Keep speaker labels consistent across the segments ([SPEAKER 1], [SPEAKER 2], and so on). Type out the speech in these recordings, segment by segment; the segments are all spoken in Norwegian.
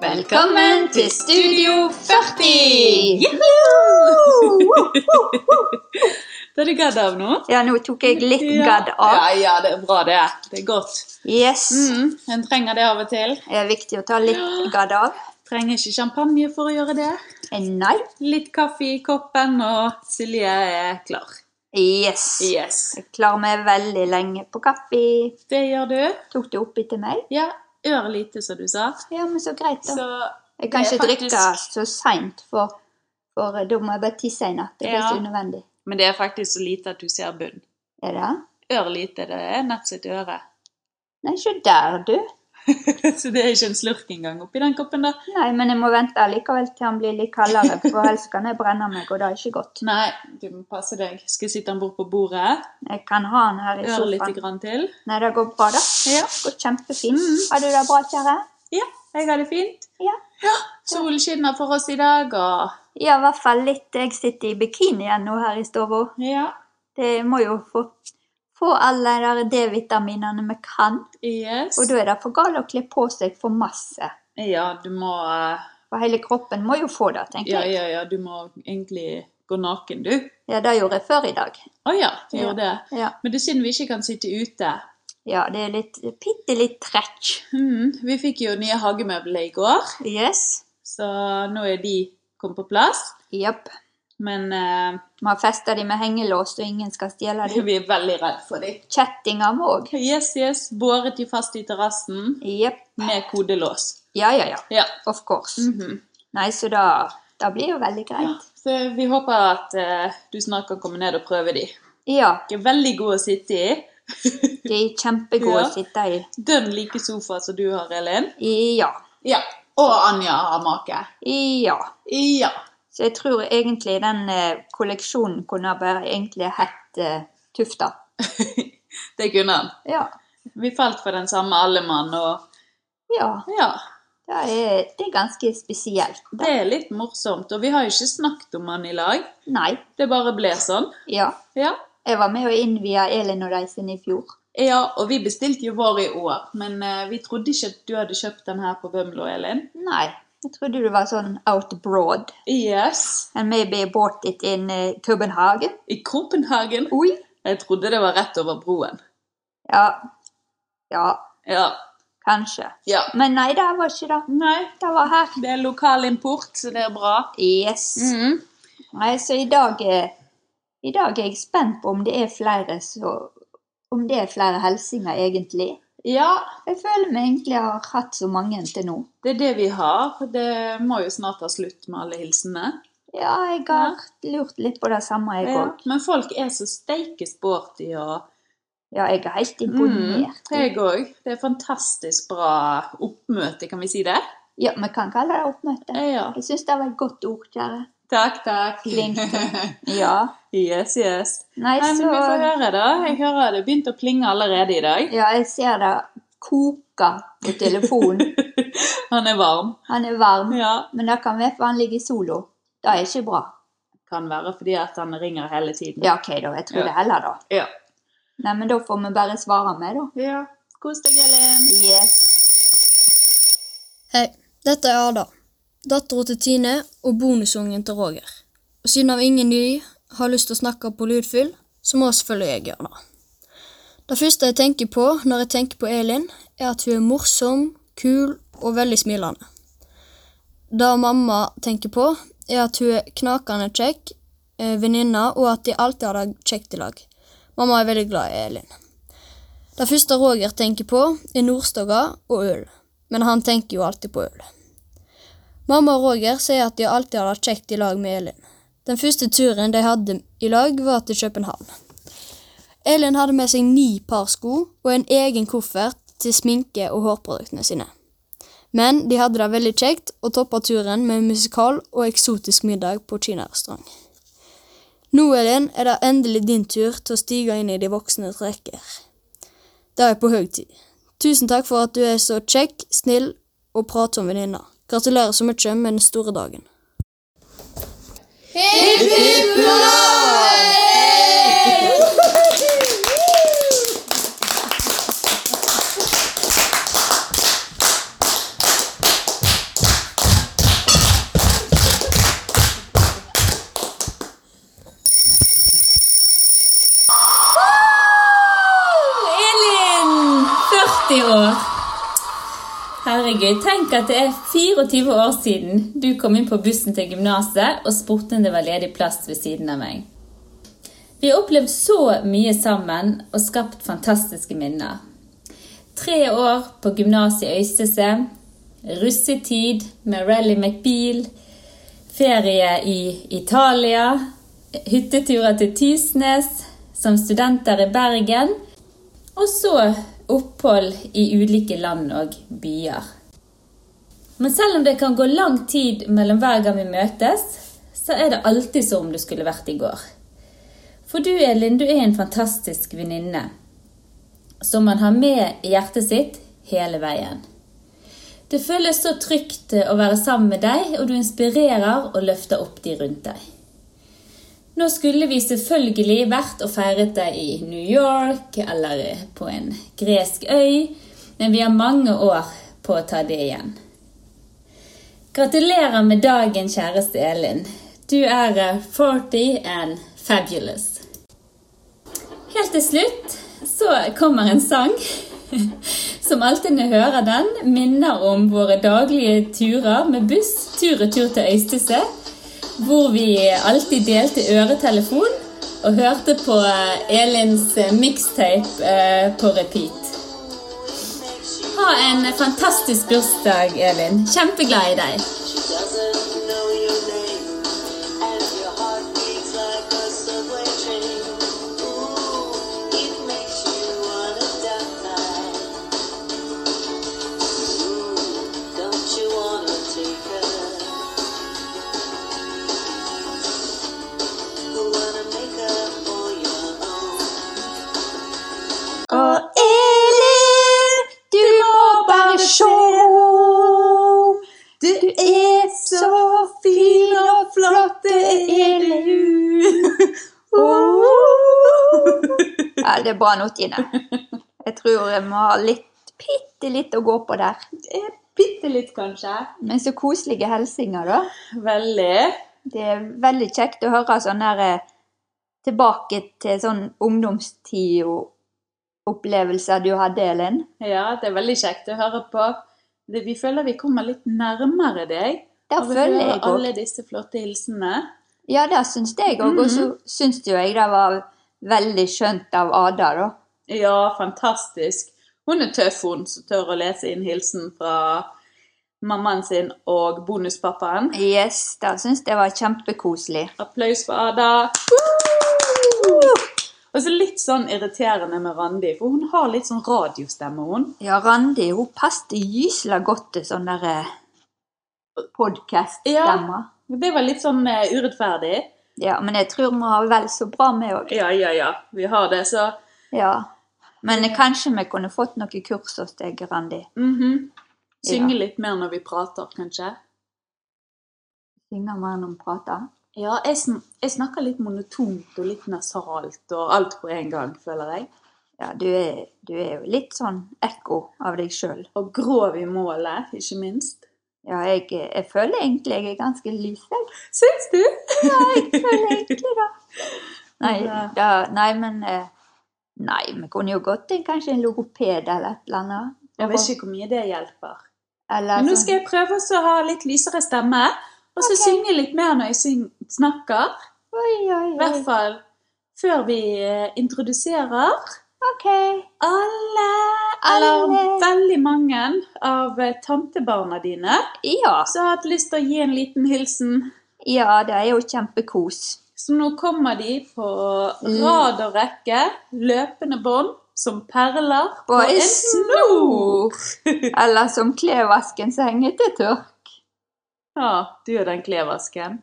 [SPEAKER 1] Velkommen til Studio 40!
[SPEAKER 2] Det er du gadd av nå?
[SPEAKER 1] Ja, nå tok jeg litt gadd av.
[SPEAKER 2] Ja, ja, det er bra det. Det er godt.
[SPEAKER 1] Yes.
[SPEAKER 2] Mm, en trenger det av og til.
[SPEAKER 1] Det er viktig å ta litt gadd av.
[SPEAKER 2] Trenger ikke champagne for å gjøre det.
[SPEAKER 1] Eh, Nei.
[SPEAKER 2] Litt kaffe i koppen, og Silje er klar.
[SPEAKER 1] Yes.
[SPEAKER 2] Yes.
[SPEAKER 1] Jeg klarer meg veldig lenge på kaffe.
[SPEAKER 2] Det gjør du.
[SPEAKER 1] Tok det oppi til meg?
[SPEAKER 2] Ja, ørlite, som du sa.
[SPEAKER 1] Ja, men så greit, da.
[SPEAKER 2] Så
[SPEAKER 1] Jeg kan
[SPEAKER 2] det er
[SPEAKER 1] ikke drikke
[SPEAKER 2] faktisk-
[SPEAKER 1] så seint, for, for da må jeg bare tisse en natt. Det blir
[SPEAKER 2] Ja.
[SPEAKER 1] så unødvendig.
[SPEAKER 2] Men det er faktisk så lite at du ser bunn.
[SPEAKER 1] Er det?
[SPEAKER 2] Ørlite, det er nett sitt øre.
[SPEAKER 1] Nei, ikke der, du.
[SPEAKER 2] så det er ikke en slurk engang oppi den koppen, da.
[SPEAKER 1] Nei, men jeg må vente likevel til han blir litt kaldere, for ellers kan jeg brenne meg, og det er ikke godt.
[SPEAKER 2] Nei, du må passe deg. Skal jeg sitte den bort på bordet?
[SPEAKER 1] Jeg kan ha han her i
[SPEAKER 2] Øre lite
[SPEAKER 1] sofaen.
[SPEAKER 2] grann til.
[SPEAKER 1] Nei, det går bra, da.
[SPEAKER 2] Ja.
[SPEAKER 1] Det går kjempefint. Har du det bra, kjære?
[SPEAKER 2] Ja, jeg har det fint.
[SPEAKER 1] Ja.
[SPEAKER 2] Solen skinner for oss i dag, og
[SPEAKER 1] Ja, i hvert fall litt. Jeg sitter i bikini igjen nå her i stua.
[SPEAKER 2] ja,
[SPEAKER 1] Det må jo få, få alle de der D-vitaminene vi kan.
[SPEAKER 2] yes.
[SPEAKER 1] Og da er det for galt å kle på seg for masse.
[SPEAKER 2] Ja, du må eh,
[SPEAKER 1] For hele kroppen må jo få det,
[SPEAKER 2] Ja,
[SPEAKER 1] tenker jeg.
[SPEAKER 2] ja, ja, du må egentlig gå naken, du.
[SPEAKER 1] Ja, det gjorde jeg før i dag.
[SPEAKER 2] Å ja, du gjør det.
[SPEAKER 1] Ja,
[SPEAKER 2] Men det er synd vi ikke kan sitte ute.
[SPEAKER 1] ja det er litt bitte litt trekk.
[SPEAKER 2] Hmm, vi fikk jo nye hagemøbler i går,
[SPEAKER 1] Yes.
[SPEAKER 2] så nå er de kommet på plass.
[SPEAKER 1] Jepp.
[SPEAKER 2] Men eh,
[SPEAKER 1] Vi har festa de med hengelås, og ingen skal stjele de.
[SPEAKER 2] vi er veldig redd for dem.
[SPEAKER 1] Kjettinger må òg.
[SPEAKER 2] Yes, yes. Båret de fast i terrassen
[SPEAKER 1] Jepp.
[SPEAKER 2] med kodelås.
[SPEAKER 1] Ja, ja, ja.
[SPEAKER 2] Ja.
[SPEAKER 1] Of course.
[SPEAKER 2] mhm.
[SPEAKER 1] Nei, så da, da blir jo veldig greit.
[SPEAKER 2] Så vi håper at eh, du snart kan komme ned og prøve de.
[SPEAKER 1] Ja,
[SPEAKER 2] De er veldig gode å sitte i.
[SPEAKER 1] de er kjempegode
[SPEAKER 2] Ja.
[SPEAKER 1] å sitte i.
[SPEAKER 2] Dønn like sofa som du har, Elin.
[SPEAKER 1] I- Ja.
[SPEAKER 2] Ja. Og Anja har make.
[SPEAKER 1] I- Ja.
[SPEAKER 2] Ja.
[SPEAKER 1] Så jeg tror egentlig den eh, kolleksjonen kunne ha bare egentlig hett eh, Tufta.
[SPEAKER 2] Det kunne han.
[SPEAKER 1] Ja.
[SPEAKER 2] Vi falt for den samme allemann, og
[SPEAKER 1] ja.
[SPEAKER 2] ja.
[SPEAKER 1] Det er, det er ganske spesielt.
[SPEAKER 2] Det er litt morsomt. Og vi har jo ikke snakket om han i lag.
[SPEAKER 1] Nei.
[SPEAKER 2] Det bare ble sånn.
[SPEAKER 1] Ja.
[SPEAKER 2] Ja.
[SPEAKER 1] Jeg var med å innvie Elin og de sin i fjor.
[SPEAKER 2] Ja, og vi bestilte jo vår i år, men eh, vi trodde ikke at du hadde kjøpt den her på Bømlo, Elin.
[SPEAKER 1] Nei. Jeg trodde du var sånn out abroad.
[SPEAKER 2] Yes.
[SPEAKER 1] And maybe bought it in eh, Copenhagen.
[SPEAKER 2] I Copenhagen.
[SPEAKER 1] Oi.
[SPEAKER 2] Jeg trodde det var rett over broen.
[SPEAKER 1] Ja. Ja,
[SPEAKER 2] Ja.
[SPEAKER 1] kanskje.
[SPEAKER 2] Ja.
[SPEAKER 1] Men nei, det var ikke det.
[SPEAKER 2] Nei,
[SPEAKER 1] Det var her.
[SPEAKER 2] det er lokal import, så det er bra.
[SPEAKER 1] Yes. Nei, så i dag, er, i dag er jeg spent på om det er flere så, om det er flere hilsener, egentlig.
[SPEAKER 2] Ja,
[SPEAKER 1] Jeg føler vi egentlig har hatt så mange til nå.
[SPEAKER 2] det er det vi har. Det må jo snart ta slutt med alle hilsenene.
[SPEAKER 1] Ja, jeg har lurt litt på det samme, jeg
[SPEAKER 2] Ja.
[SPEAKER 1] òg.
[SPEAKER 2] Eh, Men folk er så steike sporty og
[SPEAKER 1] Ja. jeg er helt imponert.
[SPEAKER 2] Mm, Jeg òg. Det er fantastisk bra oppmøte, kan vi si det?
[SPEAKER 1] Ja, vi kan kalle det oppmøte.
[SPEAKER 2] Ja.
[SPEAKER 1] Jeg syns det var et godt ord, kjære.
[SPEAKER 2] Takk, takk.
[SPEAKER 1] Flink. Ja.
[SPEAKER 2] yes, yes.
[SPEAKER 1] Nei,
[SPEAKER 2] Nei, men
[SPEAKER 1] så
[SPEAKER 2] vi får høre, da. Jeg hører det begynte å plinge allerede i dag.
[SPEAKER 1] Ja, jeg ser det koker på telefonen.
[SPEAKER 2] Han er varm.
[SPEAKER 1] Han er varm.
[SPEAKER 2] Ja.
[SPEAKER 1] Men det kan være for han ligger solo. Det er ikke bra.
[SPEAKER 2] Kan være fordi at han ringer hele tiden.
[SPEAKER 1] Ja, OK, da. Jeg tror
[SPEAKER 2] Ja.
[SPEAKER 1] det heller, da.
[SPEAKER 2] Ja.
[SPEAKER 1] Nei, men da får vi bare svare med, da.
[SPEAKER 2] ja. Kos deg, Elin.
[SPEAKER 1] Yes.
[SPEAKER 3] Hei, dette er Ada, dattera til Tine og bonusungen til Roger. Og siden av ingen de har lyst til å snakke på lydfyll, så må selvfølgelig jeg gjøre det. Det første jeg tenker på når jeg tenker på Elin, er at hun er morsom, kul og veldig smilende. Det mamma tenker på, er at hun er knakende kjekk, eh, venninne, og at de alltid har det kjekt i lag. Mamma er veldig glad i Elin. Det første Roger tenker på, er Nordstoga og øl. Men han tenker jo alltid på øl. Mamma og Roger sier at de alltid har hatt kjekt i lag med Elin. Den første turen de hadde i lag, var til København. Elin hadde med seg ni par sko og en egen koffert til sminke og hårproduktene sine. Men de hadde det veldig kjekt og toppa turen med musikal og eksotisk middag på kinarestaurant. Nå, Elin, er det endelig din tur til å stige inn i de voksnes rekker. Det er på høy tid. Tusen takk for at du er så kjekk, snill og pratsom venninne. Gratulerer så mye med den store dagen.
[SPEAKER 4] herregud, tenk at det er 24 år siden du kom inn på bussen til gymnaset og spurte om det var ledig plass ved siden av meg. Vi har opplevd så mye sammen og skapt fantastiske minner. Tre år på gymnaset i Øystese, russetid med Rally McBeal, ferie i Italia, hytteturer til Tysnes, som studenter i Bergen, og så opphold i ulike land og byer. Men selv om det kan gå lang tid mellom hver gang vi møtes, så er det alltid som om du skulle vært i går. For du, Elin, du er en fantastisk venninne som man har med i hjertet sitt hele veien. Det føles så trygt å være sammen med deg, og du inspirerer og løfter opp de rundt deg. Nå skulle vi selvfølgelig vært og feiret det i New York eller på en gresk øy, men vi har mange år på å ta det igjen. Gratulerer med dagen, kjæreste Elin. Du er eh, 40 and fabulous. Helt til slutt så kommer en sang. Som alltid når jeg hører den, minner om våre daglige turer med buss tur og tur til Øystese. Hvor vi alltid delte øretelefon og hørte på eh, Elins eh, mixtape eh, på repeat. Ha en fantastisk bursdag, Elin. Kjempeglad i deg.
[SPEAKER 5] She doesn't know your name, and your heart beats like a subway train. Ooh, it makes you wanna die. Ooh, don't you wanna take her? Wanna make her all your own?
[SPEAKER 1] Og Elin, du må bare sjå. Du er så fin og flott, Elin. Ja, det er bra nå, Tine. Jeg tror jeg må ha litt, bitte litt å gå på der.
[SPEAKER 2] Bitte litt, kanskje.
[SPEAKER 1] Men så koselige hilsener, da.
[SPEAKER 2] Veldig.
[SPEAKER 1] Det er veldig kjekt å høre sånn der eh, Tilbake til sånn ungdomstid og opplevelser du hadde, Elin.
[SPEAKER 2] Ja, det er veldig kjekt å høre på. Det, vi føler vi kommer litt nærmere deg.
[SPEAKER 1] Der
[SPEAKER 2] av å
[SPEAKER 1] føler
[SPEAKER 2] høre
[SPEAKER 1] jeg òg
[SPEAKER 2] alle disse flotte hilsenene.
[SPEAKER 1] Ja, det syns jeg òg. Og
[SPEAKER 2] Mhm.
[SPEAKER 1] så syns jo jeg det var veldig skjønt av Ada, da.
[SPEAKER 2] Ja, fantastisk. Hun er tøff, hun som tør å lese inn hilsen fra mammaen sin og bonuspappaen.
[SPEAKER 1] Yes, det syns jeg var kjempekoselig.
[SPEAKER 2] Applaus for Ada. Og så litt sånn irriterende med Randi, for hun har litt sånn radiostemme, hun.
[SPEAKER 1] Ja, Randi hun passet gysla godt til sånn eh, derre podkast-stemmer.
[SPEAKER 2] Det var litt sånn eh, urettferdig.
[SPEAKER 1] Ja, men jeg tror vi har vel så bra med òg.
[SPEAKER 2] Ja, ja, ja, vi har det, så
[SPEAKER 1] Ja. Men kanskje vi kunne fått noe kurs hos deg, Randi.
[SPEAKER 2] mhm. Synge
[SPEAKER 1] Ja.
[SPEAKER 2] litt mer når vi prater, kanskje.
[SPEAKER 1] Synger mer når vi prater.
[SPEAKER 2] Ja, jeg, sn jeg snakker litt monotont og litt nasalt og alt på en gang, føler jeg.
[SPEAKER 1] Ja, du er, du er jo litt sånn ekko av deg sjøl.
[SPEAKER 2] Og grov i målet, ikke minst.
[SPEAKER 1] Ja, jeg, jeg føler egentlig jeg er ganske lys, jeg.
[SPEAKER 2] Syns du?
[SPEAKER 1] Jeg føler egentlig det. Nei,
[SPEAKER 2] Ja.
[SPEAKER 1] da, nei, men eh, Nei, vi kunne jo gått til kanskje en logoped eller et eller annet.
[SPEAKER 2] Jeg vet ikke hvor mye det hjelper.
[SPEAKER 1] Eller
[SPEAKER 2] Men nå
[SPEAKER 1] sånn-
[SPEAKER 2] skal jeg prøve også å ha litt lysere stemme, og så
[SPEAKER 1] Ok.
[SPEAKER 2] synge litt mer når jeg syng snakker.
[SPEAKER 1] Oi, oi,
[SPEAKER 2] I hvert
[SPEAKER 1] oi.
[SPEAKER 2] fall før vi eh, introduserer
[SPEAKER 1] OK.
[SPEAKER 2] alle, eller
[SPEAKER 1] Alle.
[SPEAKER 2] veldig mange av eh, tantebarna dine
[SPEAKER 1] Ja.
[SPEAKER 2] som har hatt lyst til å gi en liten hilsen.
[SPEAKER 1] ja, det er jo kjempekos.
[SPEAKER 2] Så nå kommer de på
[SPEAKER 1] Mm.
[SPEAKER 2] rad og rekke, løpende bånd, som perler
[SPEAKER 1] På en
[SPEAKER 2] Uh.
[SPEAKER 1] snor! Eller som klevaskens hengetetørk.
[SPEAKER 2] Ja, du er den klevasken.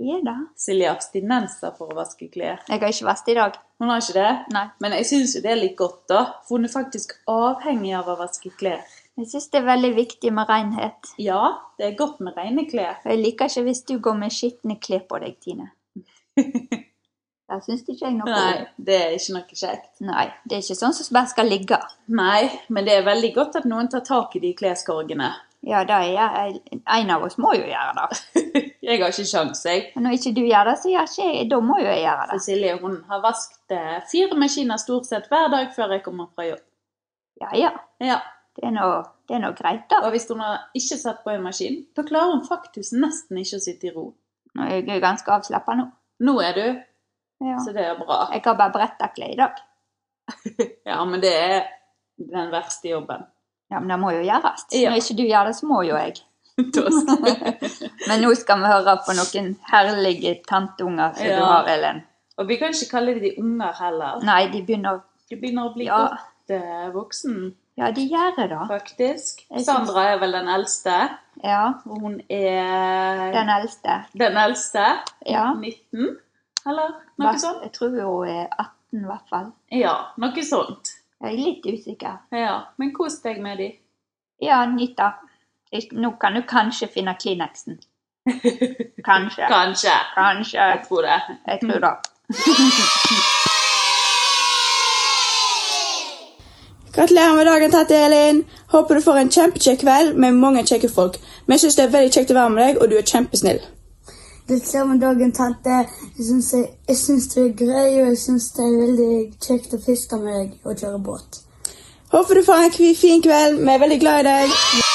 [SPEAKER 1] Ja da.
[SPEAKER 2] Silje er abstinenser for å vaske klær.
[SPEAKER 1] Jeg har ikke vært i dag.
[SPEAKER 2] Hun har ikke det?
[SPEAKER 1] Nei.
[SPEAKER 2] Men jeg syns jo det er litt godt, da. For hun er faktisk avhengig av å vaske klær.
[SPEAKER 1] Jeg syns det er veldig viktig med renhet.
[SPEAKER 2] Ja, det er godt med rene klær.
[SPEAKER 1] Og jeg liker ikke hvis du går med skitne klær på deg, Tine. Det syns ikke jeg noe
[SPEAKER 2] Nei,
[SPEAKER 1] om.
[SPEAKER 2] det er ikke noe kjekt.
[SPEAKER 1] Nei, det er ikke sånn som bare skal ligge.
[SPEAKER 2] Nei, men det er veldig godt at noen tar tak i de klesskorgene.
[SPEAKER 1] Ja, det er jeg. En av oss må jo gjøre det.
[SPEAKER 2] Jeg har ikke sjans, jeg.
[SPEAKER 1] Men når ikke du gjør det, så gjør ikke jeg Da må jo jeg gjøre det.
[SPEAKER 2] For Silje hun har vasket eh, fire maskiner stort sett hver dag før jeg kommer fra jobb.
[SPEAKER 1] Ja, ja.
[SPEAKER 2] Ja,
[SPEAKER 1] Det er nå- det er nå greit, da.
[SPEAKER 2] Og hvis hun har ikke satt på en maskin, da klarer hun faktisk nesten ikke å sitte i ro.
[SPEAKER 1] Nå er jeg jo ganske avslappa nå.
[SPEAKER 2] Nå er du,
[SPEAKER 1] Ja.
[SPEAKER 2] så det er bra.
[SPEAKER 1] Jeg har bare brettdekle i dag.
[SPEAKER 2] Ja, men det er den verste jobben.
[SPEAKER 1] Ja, men det må jo gjøres.
[SPEAKER 2] Ja.
[SPEAKER 1] Når ikke du gjør det, så må jo jeg.
[SPEAKER 2] Da skal-
[SPEAKER 1] Men nå skal vi høre på noen herlige tanteunger som
[SPEAKER 2] Ja.
[SPEAKER 1] du har, Ellen.
[SPEAKER 2] Og vi kan ikke kalle de unger heller.
[SPEAKER 1] Nei, de begynner
[SPEAKER 2] De begynner å bli
[SPEAKER 1] Ja.
[SPEAKER 2] godt eh, voksen,
[SPEAKER 1] Ja, de gjør det, da.
[SPEAKER 2] faktisk.
[SPEAKER 1] Jeg syns-
[SPEAKER 2] Sandra er vel den eldste.
[SPEAKER 1] Ja.
[SPEAKER 2] og Hun er
[SPEAKER 1] Den eldste.
[SPEAKER 2] den eldste.
[SPEAKER 1] Ja.
[SPEAKER 2] 19, eller noe
[SPEAKER 1] Hva-
[SPEAKER 2] sånt?
[SPEAKER 1] Jeg tror hun er 18, i hvert fall.
[SPEAKER 2] Ja, noe sånt.
[SPEAKER 1] Jeg er litt usikker.
[SPEAKER 2] Ja, men kos deg med de.
[SPEAKER 1] Ja, Nita. Ik- Nå kan du kanskje finne Kleenexen. Kanskje.
[SPEAKER 2] Kanskje.
[SPEAKER 1] Kanskje.
[SPEAKER 2] Jeg tror det.
[SPEAKER 1] Jeg tror det.
[SPEAKER 4] Gratulerer med dagen, tante Elin. Håper du får en kjempekjekk kveld med mange kjekke folk. Vi synes det er veldig kjekt å være med deg, og du er kjempesnill.
[SPEAKER 6] Gratulerer med dagen, tante. Jeg syns, jeg, jeg syns du er grei, og jeg syns det er veldig kjekt å fiske med deg og kjøre båt.
[SPEAKER 4] Håper du får en kvi- fin kveld. Vi er veldig glad i deg.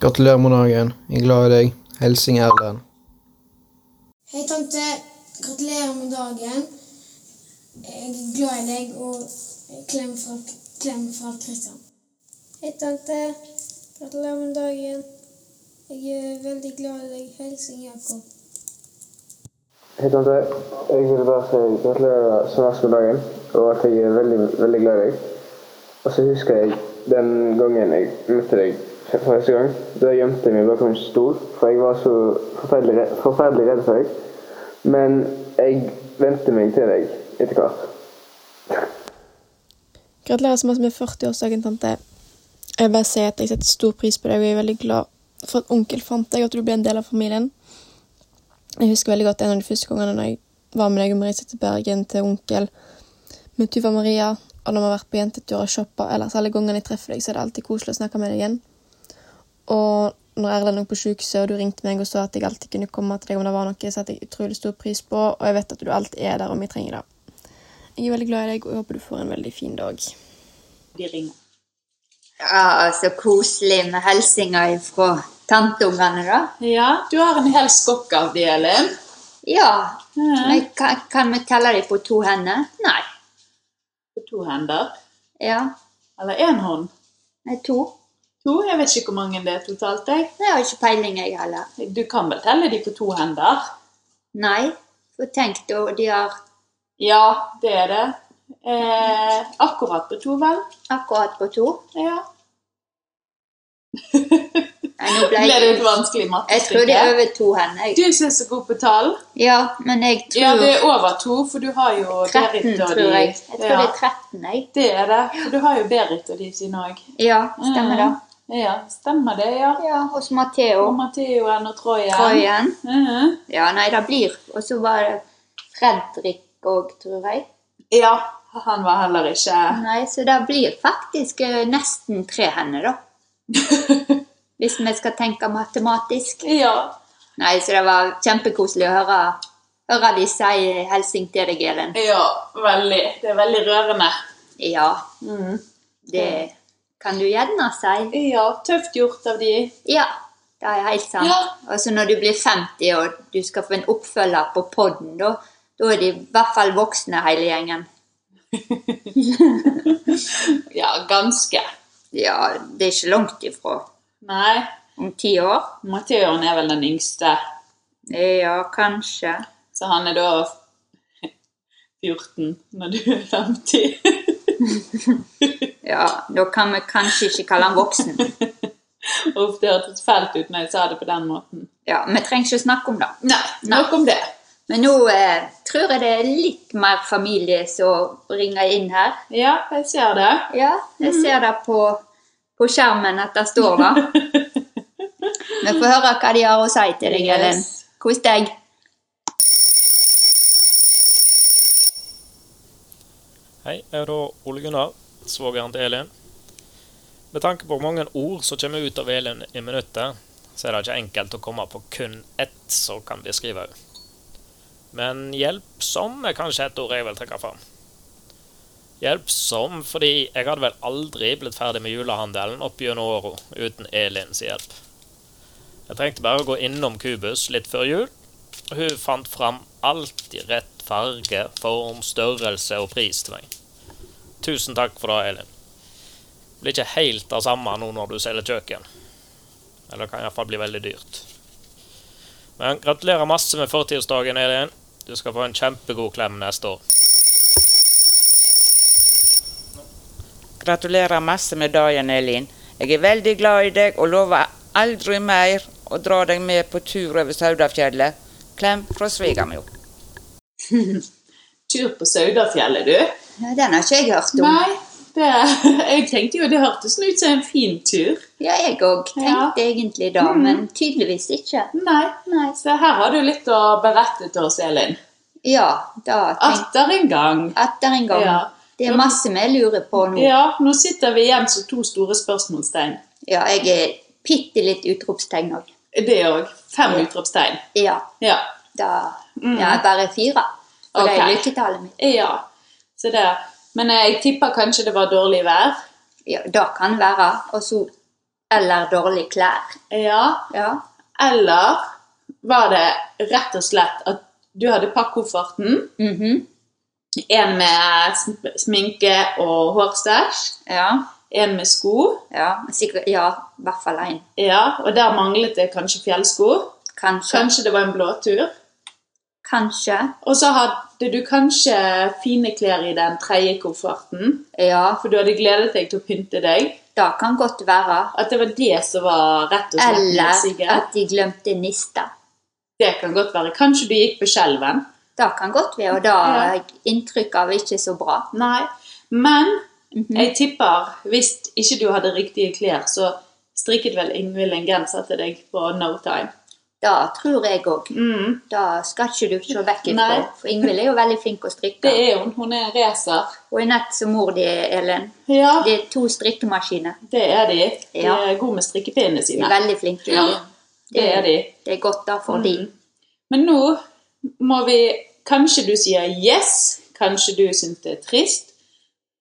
[SPEAKER 7] Gratulerer med dagen. Jeg er glad i deg. Helsing Erlend.
[SPEAKER 8] Hei, tante. Gratulerer med dagen. Jeg er glad i deg, og klem fra, klem fra Kristian. Hei, tante. Gratulerer med dagen. Jeg er veldig glad i deg. Hilsen Jakob.
[SPEAKER 9] Hei, tante. Jeg ville bare si gratulerer så verst med dagen, og at jeg er veldig, veldig glad i deg. Og så husker jeg den gangen jeg møtte deg for første gang. Da gjemte jeg meg bakom en stol, for jeg var så forferdelig, re- forferdelig redd for deg. Men jeg vente meg til deg etter hvert.
[SPEAKER 3] Gratulerer så masse med 40-årsdagen, tante. Jeg vil bare si at jeg setter stor pris på deg, og jeg er veldig glad for at onkel fant deg, og at du ble en del av familien. Jeg husker veldig godt en av de første gangene når jeg var med deg og Marisa til Bergen til onkel med Tuva Maria, og når vi har vært på jentetur og shoppa, ellers alle gangene jeg treffer deg, så er det alltid koselig å snakke med deg igjen. Og når Erlend lå på sykehuset, og du ringte meg og sa at jeg alltid kunne komme til deg om det var noe, setter jeg utrolig stor pris på, og jeg vet at du alltid er der om jeg trenger det. Jeg er veldig glad i deg, og jeg håper du får en veldig fin dag.
[SPEAKER 2] De ringer.
[SPEAKER 1] Ja, så koselig med hilsener fra tanteungene, da.
[SPEAKER 2] Ja, du har en hel skokk av de, Elin.
[SPEAKER 1] Ja. Men kan, kan vi telle dem på to hender? Nei.
[SPEAKER 2] På to hender.
[SPEAKER 1] Ja.
[SPEAKER 2] Eller én hånd.
[SPEAKER 1] Nei, to.
[SPEAKER 2] To, jeg vet ikke hvor mange det er totalt. Jeg.
[SPEAKER 1] Det har ikke peiling, jeg heller.
[SPEAKER 2] Du kan vel telle de på to hender?
[SPEAKER 1] Nei. For tenk da, de har
[SPEAKER 2] Ja, det er det. Eh, akkurat på to, vel?
[SPEAKER 1] akkurat på to.
[SPEAKER 2] Ja.
[SPEAKER 1] Nei, nå
[SPEAKER 2] Ble
[SPEAKER 1] ble
[SPEAKER 2] det et
[SPEAKER 1] jeg
[SPEAKER 2] vanskelig
[SPEAKER 1] Jeg tror
[SPEAKER 2] mattestykke?
[SPEAKER 1] de er over to hender.
[SPEAKER 2] Du
[SPEAKER 1] jeg.
[SPEAKER 2] er ikke så god på tall.
[SPEAKER 1] Ja, men jeg
[SPEAKER 2] Ja, det er
[SPEAKER 1] tror
[SPEAKER 2] over to, for du har jo
[SPEAKER 1] 13,
[SPEAKER 2] Berit og de
[SPEAKER 1] tror jeg. Jeg tror
[SPEAKER 2] ja,
[SPEAKER 1] det er 13, jeg.
[SPEAKER 2] det er det. For du har jo Berit og de sine òg.
[SPEAKER 1] Ja, stemmer det.
[SPEAKER 2] Ja, stemmer det, ja.
[SPEAKER 1] Ja, hos
[SPEAKER 2] Og
[SPEAKER 1] Matheo.
[SPEAKER 2] Matheoen og Trojen.
[SPEAKER 1] Kroyen.
[SPEAKER 2] Mhm.
[SPEAKER 1] Ja, nei, det blir. Og så var det Fredrik òg, tror jeg.
[SPEAKER 2] Ja, han var heller ikke
[SPEAKER 1] Nei, så det blir faktisk eh, nesten tre hender, da. Hvis vi skal tenke matematisk.
[SPEAKER 2] Ja.
[SPEAKER 1] Nei, så det var kjempekoselig å høre, høre de si hilsing til deg, Elin.
[SPEAKER 2] Ja, veldig. Det er veldig rørende.
[SPEAKER 1] Ja,
[SPEAKER 2] Mhm.
[SPEAKER 1] det kan du gjerne si.
[SPEAKER 2] Ja, tøft gjort av de.
[SPEAKER 1] Ja, det er helt sant.
[SPEAKER 2] Ja.
[SPEAKER 1] Og så når du blir 50 og du skal få en oppfølger på podden, da, da er de i hvert fall voksne, hele gjengen.
[SPEAKER 2] Ja, ganske.
[SPEAKER 1] Ja, det er ikke langt ifra.
[SPEAKER 2] Nei,
[SPEAKER 1] Om ti år?
[SPEAKER 2] Matheoen er vel den yngste,
[SPEAKER 1] Ja, kanskje.
[SPEAKER 2] så han er da 14 når du er 50.
[SPEAKER 1] Ja, da kan vi kanskje ikke kalle han voksen.
[SPEAKER 2] Uff, det hørtes fælt ut når jeg sa det på den måten.
[SPEAKER 1] Ja, Vi trenger ikke snakke om det.
[SPEAKER 2] Nei,
[SPEAKER 1] Nei.
[SPEAKER 2] nok om det.
[SPEAKER 1] Men nå eh, tror jeg det er litt mer familie som ringer inn her.
[SPEAKER 2] Ja, jeg ser det.
[SPEAKER 1] Ja, jeg
[SPEAKER 2] Mhm.
[SPEAKER 1] ser det på, på skjermen at det står da. Vi får høre hva de har å si til deg, Elin.
[SPEAKER 2] Yes.
[SPEAKER 1] Kos deg.
[SPEAKER 5] Hei, jeg er da Ole Gunnar, svogeren til Elin. Med tanke på hvor mange ord som kommer ut av Elin i minuttet, så er det ikke enkelt å komme på kun ett som kan beskrive henne. Men hjelpsom er kanskje et ord jeg vil trekke fram.
[SPEAKER 10] Hjelpsom, fordi jeg hadde vel aldri blitt ferdig med julehandelen opp gjennom åra uten Elins hjelp. Jeg trengte bare å gå innom Kubus litt før jul. og Hun fant fram alt i rett farge, form, størrelse og pris til meg. Tusen takk for det, Elin. Det blir ikke helt det samme nå når du selger kjøkken. Eller det kan iallfall bli veldig dyrt. Men gratulerer masse med 40-årsdagen, Elin. Du skal få en kjempegod klem neste år.
[SPEAKER 11] Gratulerer masse med dagen, Elin. Jeg er veldig glad i deg og lover aldri mer å dra deg med på tur over Saudafjellet. Klem fra svigermor.
[SPEAKER 2] Tur på Saudafjellet, du.
[SPEAKER 1] Ja, Den har ikke jeg hørt om.
[SPEAKER 2] Nei, det, jeg tenkte jo det hørtes ut som en fin tur.
[SPEAKER 1] Ja, jeg òg tenkte egentlig da,
[SPEAKER 2] Mhm.
[SPEAKER 1] men tydeligvis ikke.
[SPEAKER 2] Nei. Så her har du litt å berette til oss, Elin.
[SPEAKER 1] Ja, da tenkte
[SPEAKER 2] Atter en gang.
[SPEAKER 1] Atter en gang.
[SPEAKER 2] Ah. Ja.
[SPEAKER 1] Det er masse vi lurer på nå.
[SPEAKER 2] Ja, nå sitter vi igjen som to store spørsmålstegn.
[SPEAKER 1] Ja, jeg er bitte litt utropstegn òg.
[SPEAKER 2] Det òg. Fem utropstegn.
[SPEAKER 1] Ja.
[SPEAKER 2] Ja.
[SPEAKER 1] Da Ja, bare fire. For det er
[SPEAKER 2] Mhm. Ok.
[SPEAKER 1] lykketallet mitt.
[SPEAKER 2] ja. Så det. Men eh, jeg tipper kanskje det var dårlig vær.
[SPEAKER 1] Ja, det kan være. Og så Eller dårlige klær.
[SPEAKER 2] Ja. Eller var det rett og slett at du hadde pakket kofferten,
[SPEAKER 1] Mhm.
[SPEAKER 2] en med sm- sminke og hårstasj, en med sko,
[SPEAKER 1] Ja, sikkert, ja, i hvert fall én.
[SPEAKER 2] ja, og der manglet det kanskje fjellsko.
[SPEAKER 1] Kanskje.
[SPEAKER 2] Kanskje det var en blåtur.
[SPEAKER 1] Kanskje.
[SPEAKER 2] Og så hadde du kanskje fine klær i den tredje kofferten,
[SPEAKER 1] ja.
[SPEAKER 2] for du hadde gledet deg til å pynte deg.
[SPEAKER 1] Det kan godt være.
[SPEAKER 2] At det var det som var rett og slett
[SPEAKER 1] Eller
[SPEAKER 2] nedsiget.
[SPEAKER 1] at de glemte nista.
[SPEAKER 2] Det kan godt være. Kanskje du gikk på skjelven.
[SPEAKER 1] Det kan godt være, og da
[SPEAKER 2] Ja.
[SPEAKER 1] er inntrykket av ikke så bra.
[SPEAKER 2] Nei, men
[SPEAKER 1] Mhm.
[SPEAKER 2] jeg tipper hvis ikke du hadde riktige klær, så strikket vel Ingvild en genser til deg på no time.
[SPEAKER 1] Det tror jeg òg. Det skal ikke du se vekk ifra.
[SPEAKER 2] Nei.
[SPEAKER 1] For Ingvild er jo veldig flink å strikke.
[SPEAKER 2] Det er hun. Hun er en racer.
[SPEAKER 1] Hun er nett som mor di, Elen. Det er to strikkemaskiner.
[SPEAKER 2] Det er de. De
[SPEAKER 1] Ja.
[SPEAKER 2] er gode med strikkepinnene
[SPEAKER 1] De
[SPEAKER 2] sine.
[SPEAKER 1] er veldig flinke.
[SPEAKER 2] Ja, det er de.
[SPEAKER 1] Det er godt da for de.
[SPEAKER 2] Men nå må vi Kanskje du sier yes, kanskje du syns det er trist,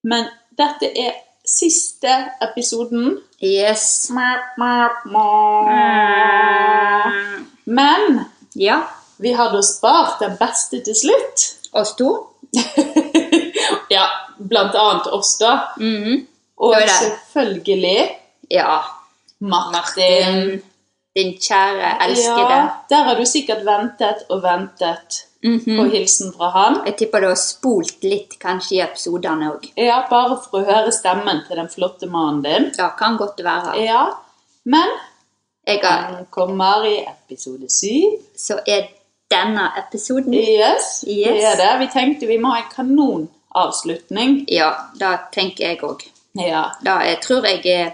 [SPEAKER 2] men dette er siste episoden.
[SPEAKER 1] Yes. Ah.
[SPEAKER 2] Mm. Men
[SPEAKER 1] ja.
[SPEAKER 2] vi hadde spart den beste til slutt.
[SPEAKER 1] Oss to?
[SPEAKER 2] ja, blant annet oss, da. Mm-hmm. Og
[SPEAKER 1] Det var det.
[SPEAKER 2] selvfølgelig
[SPEAKER 1] Ja.
[SPEAKER 2] Martin.
[SPEAKER 1] Din kjære elskede.
[SPEAKER 2] Ja, der har du sikkert ventet og ventet
[SPEAKER 1] Mhm.
[SPEAKER 2] på hilsen fra han.
[SPEAKER 1] Jeg tipper du har spolt litt kanskje i episodene òg.
[SPEAKER 2] Ja, bare for å høre stemmen til den flotte mannen din.
[SPEAKER 1] Det kan godt være.
[SPEAKER 2] Ja, men
[SPEAKER 1] Jeg har-
[SPEAKER 2] han kommer i episode syv.
[SPEAKER 1] Så er denne episoden
[SPEAKER 2] Yes, det
[SPEAKER 1] Yes.
[SPEAKER 2] er det. Vi tenkte vi må ha en kanonavslutning.
[SPEAKER 1] Ja, det tenker jeg òg.
[SPEAKER 2] Ja,
[SPEAKER 1] Det jeg tror jeg er,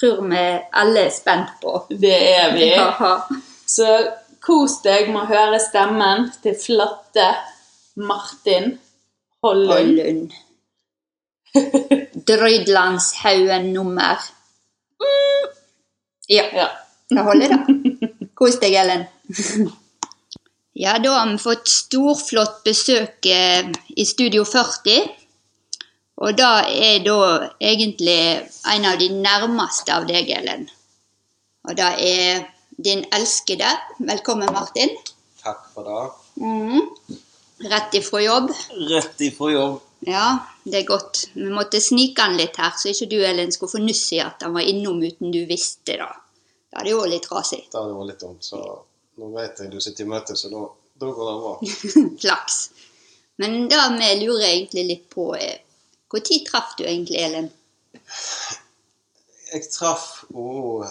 [SPEAKER 1] tror vi alle er spent på.
[SPEAKER 2] det er vi.
[SPEAKER 1] Ja.
[SPEAKER 2] Så kos deg med å høre stemmen til flotte Martin Hollund.
[SPEAKER 1] Hollund. Drydlandshaugen nummer Mm. Ja. Da holder det. Kos deg, Ellen. Ja, da har vi fått storflott besøk eh, i Studio 40. Og det er da egentlig en av de nærmeste av deg, Ellen. Og det er din elskede. Velkommen, Martin.
[SPEAKER 9] Takk for det.
[SPEAKER 1] Mhm. Rett ifra jobb.
[SPEAKER 9] Rett ifra jobb.
[SPEAKER 1] Ja, det er godt. Vi måtte snike han litt her, så ikke du Ellen skulle få nuss i at han var innom uten du visste det. Da er det jo litt trasig.
[SPEAKER 9] Da det var litt dumt, så nå vet jeg du sitter i møte, så da, da går det bra.
[SPEAKER 1] Flaks. Men det vi lurer egentlig litt på, er når traff du egentlig Ellen?
[SPEAKER 9] Jeg traff henne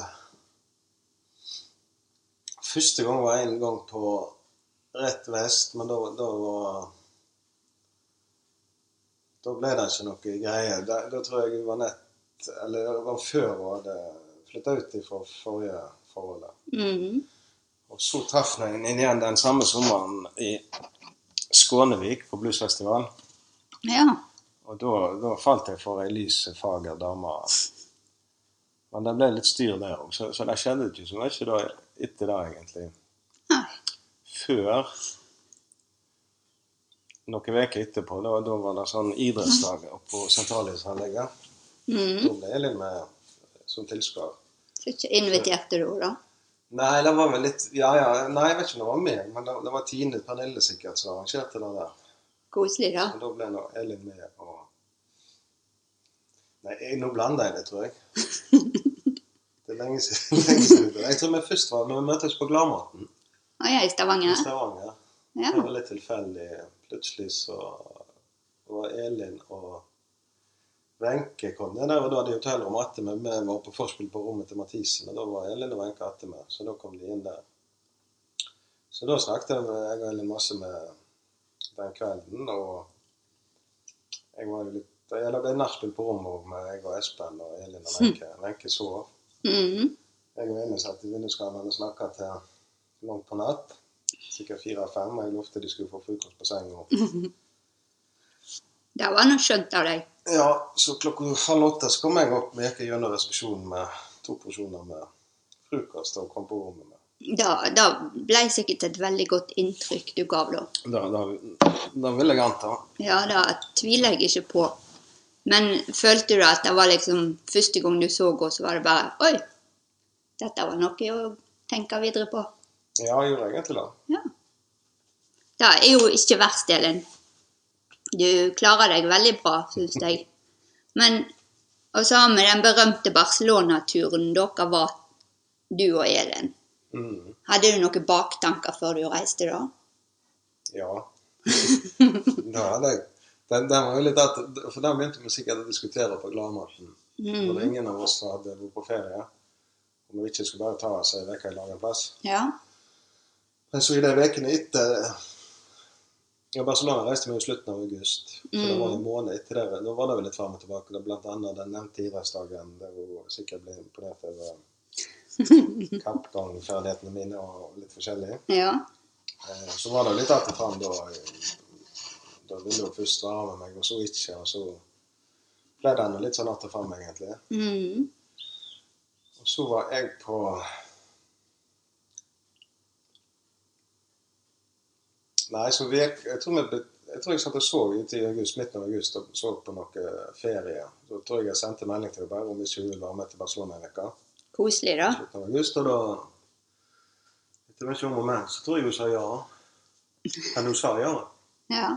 [SPEAKER 9] Første gang var en gang på rett vest, men da, da var Da ble det ikke noe greie. Da, da tror jeg hun var nett Eller det var før hun hadde flytta ut fra forrige forholdet.
[SPEAKER 1] Mhm.
[SPEAKER 9] Og så traff jeg henne igjen den samme sommeren i Skånevik på bluesfestivalen.
[SPEAKER 1] Ja.
[SPEAKER 9] Og da, da falt jeg for ei lys, fager dame. Men det ble litt styr der òg, så, så det skjedde ikke så mye da etter det, egentlig. Før noen uker etterpå. Da, da var det sånn idrettsdag oppe på sentralhusanlegget.
[SPEAKER 1] Mm.
[SPEAKER 9] Da ble Elin med som tilskuer.
[SPEAKER 1] Så ikke inviterte du henne, da?
[SPEAKER 9] Nei, det var vel litt Ja, ja. Nei, jeg vet ikke om det var meg, men det, det var Tine Pernille sikkert som arrangerte det der.
[SPEAKER 1] Koselig, da.
[SPEAKER 9] Og da ble nå Elin med og Nei, jeg, nå blander jeg det, tror jeg. Det er lenge siden. Lenge siden. Jeg tror vi først var Vi møttes på Gladmaten
[SPEAKER 1] Og jeg er i
[SPEAKER 9] i
[SPEAKER 1] Stavanger.
[SPEAKER 9] Stavanger.
[SPEAKER 1] Ja.
[SPEAKER 9] Det var litt tilfeldig. Plutselig så var Elin og Wenche kom ned der, og da hadde de hotellrommet attmed. Vi var på forspill på rommet til Mathisen, og da var Elin og Wenche attmed. Så da kom de inn der. Så da snakket jeg med- jeg og Elin masse med den kvelden, og jeg var jo litt ja, Det ble nachspiel på rommet òg med jeg og Espen og Elin og Wenche. Wenche sov.
[SPEAKER 1] Hm. Mhm.
[SPEAKER 9] Jeg og Elin satt i vinduskarmen og snakka til langt på natt. Sikkert fire-fem. og Jeg lovte de skulle få frokost på senga.
[SPEAKER 1] Det var nå skjønt av deg.
[SPEAKER 9] Ja, så klokka halv åtte så kom jeg opp og gikk gjennom resepsjonen med to porsjoner med frokost og kom på rommet. med.
[SPEAKER 1] Da, da ble sikkert et veldig godt inntrykk du gav da.
[SPEAKER 9] Da, da, da vil jeg anta.
[SPEAKER 1] Ja, det tviler jeg ikke på. Men følte du at det var liksom første gang du så henne, så var det bare Oi, dette var noe å tenke videre på.
[SPEAKER 9] Ja, jeg gjorde egentlig det.
[SPEAKER 1] Det er jo ikke verst, Elin. Du klarer deg veldig bra, syns jeg. Men Og så har vi den berømte Barcelona-turen dere var, du og Elin.
[SPEAKER 9] Mm.
[SPEAKER 1] Hadde du noen baktanker før du reiste da?
[SPEAKER 9] Ja. da hadde jeg. Den, den var jo litt at, for den begynte vi sikkert å diskutere på Gladmaten.
[SPEAKER 1] Mm.
[SPEAKER 9] Når ingen av oss hadde vært på ferie. Om vi ikke skulle bare ta oss en uke i lag en plass.
[SPEAKER 1] Ja.
[SPEAKER 9] Men så i de ukene etter ja, Barcelona reiste vi i slutten av august. Så det var en måned etter det. Da var det vel litt fram og tilbake. Det var blant annet den nevnte idrettsdagen der hun sikkert ble imponert over kampgangferdighetene mine og litt forskjellig.
[SPEAKER 1] Ja.
[SPEAKER 9] Eh, Så var det jo litt att og fram da. eh, Da ville hun først være med meg, og så ikke. Og så ble det nå litt sånn att og fram, egentlig.
[SPEAKER 1] Mm.
[SPEAKER 9] Og så var jeg på Nei, så vi, jeg, tror vi, jeg tror jeg satt og så ute i august, midten av august og så på noe ferie. Da tror jeg jeg sendte melding til deg bare om ikke hun ville være med til Barcelona en uke.
[SPEAKER 1] Koselig, da.
[SPEAKER 9] Slutten av august, og da Etter mye om og men, så tror jeg hun sa ja. Men hun sa ja.
[SPEAKER 1] Ja.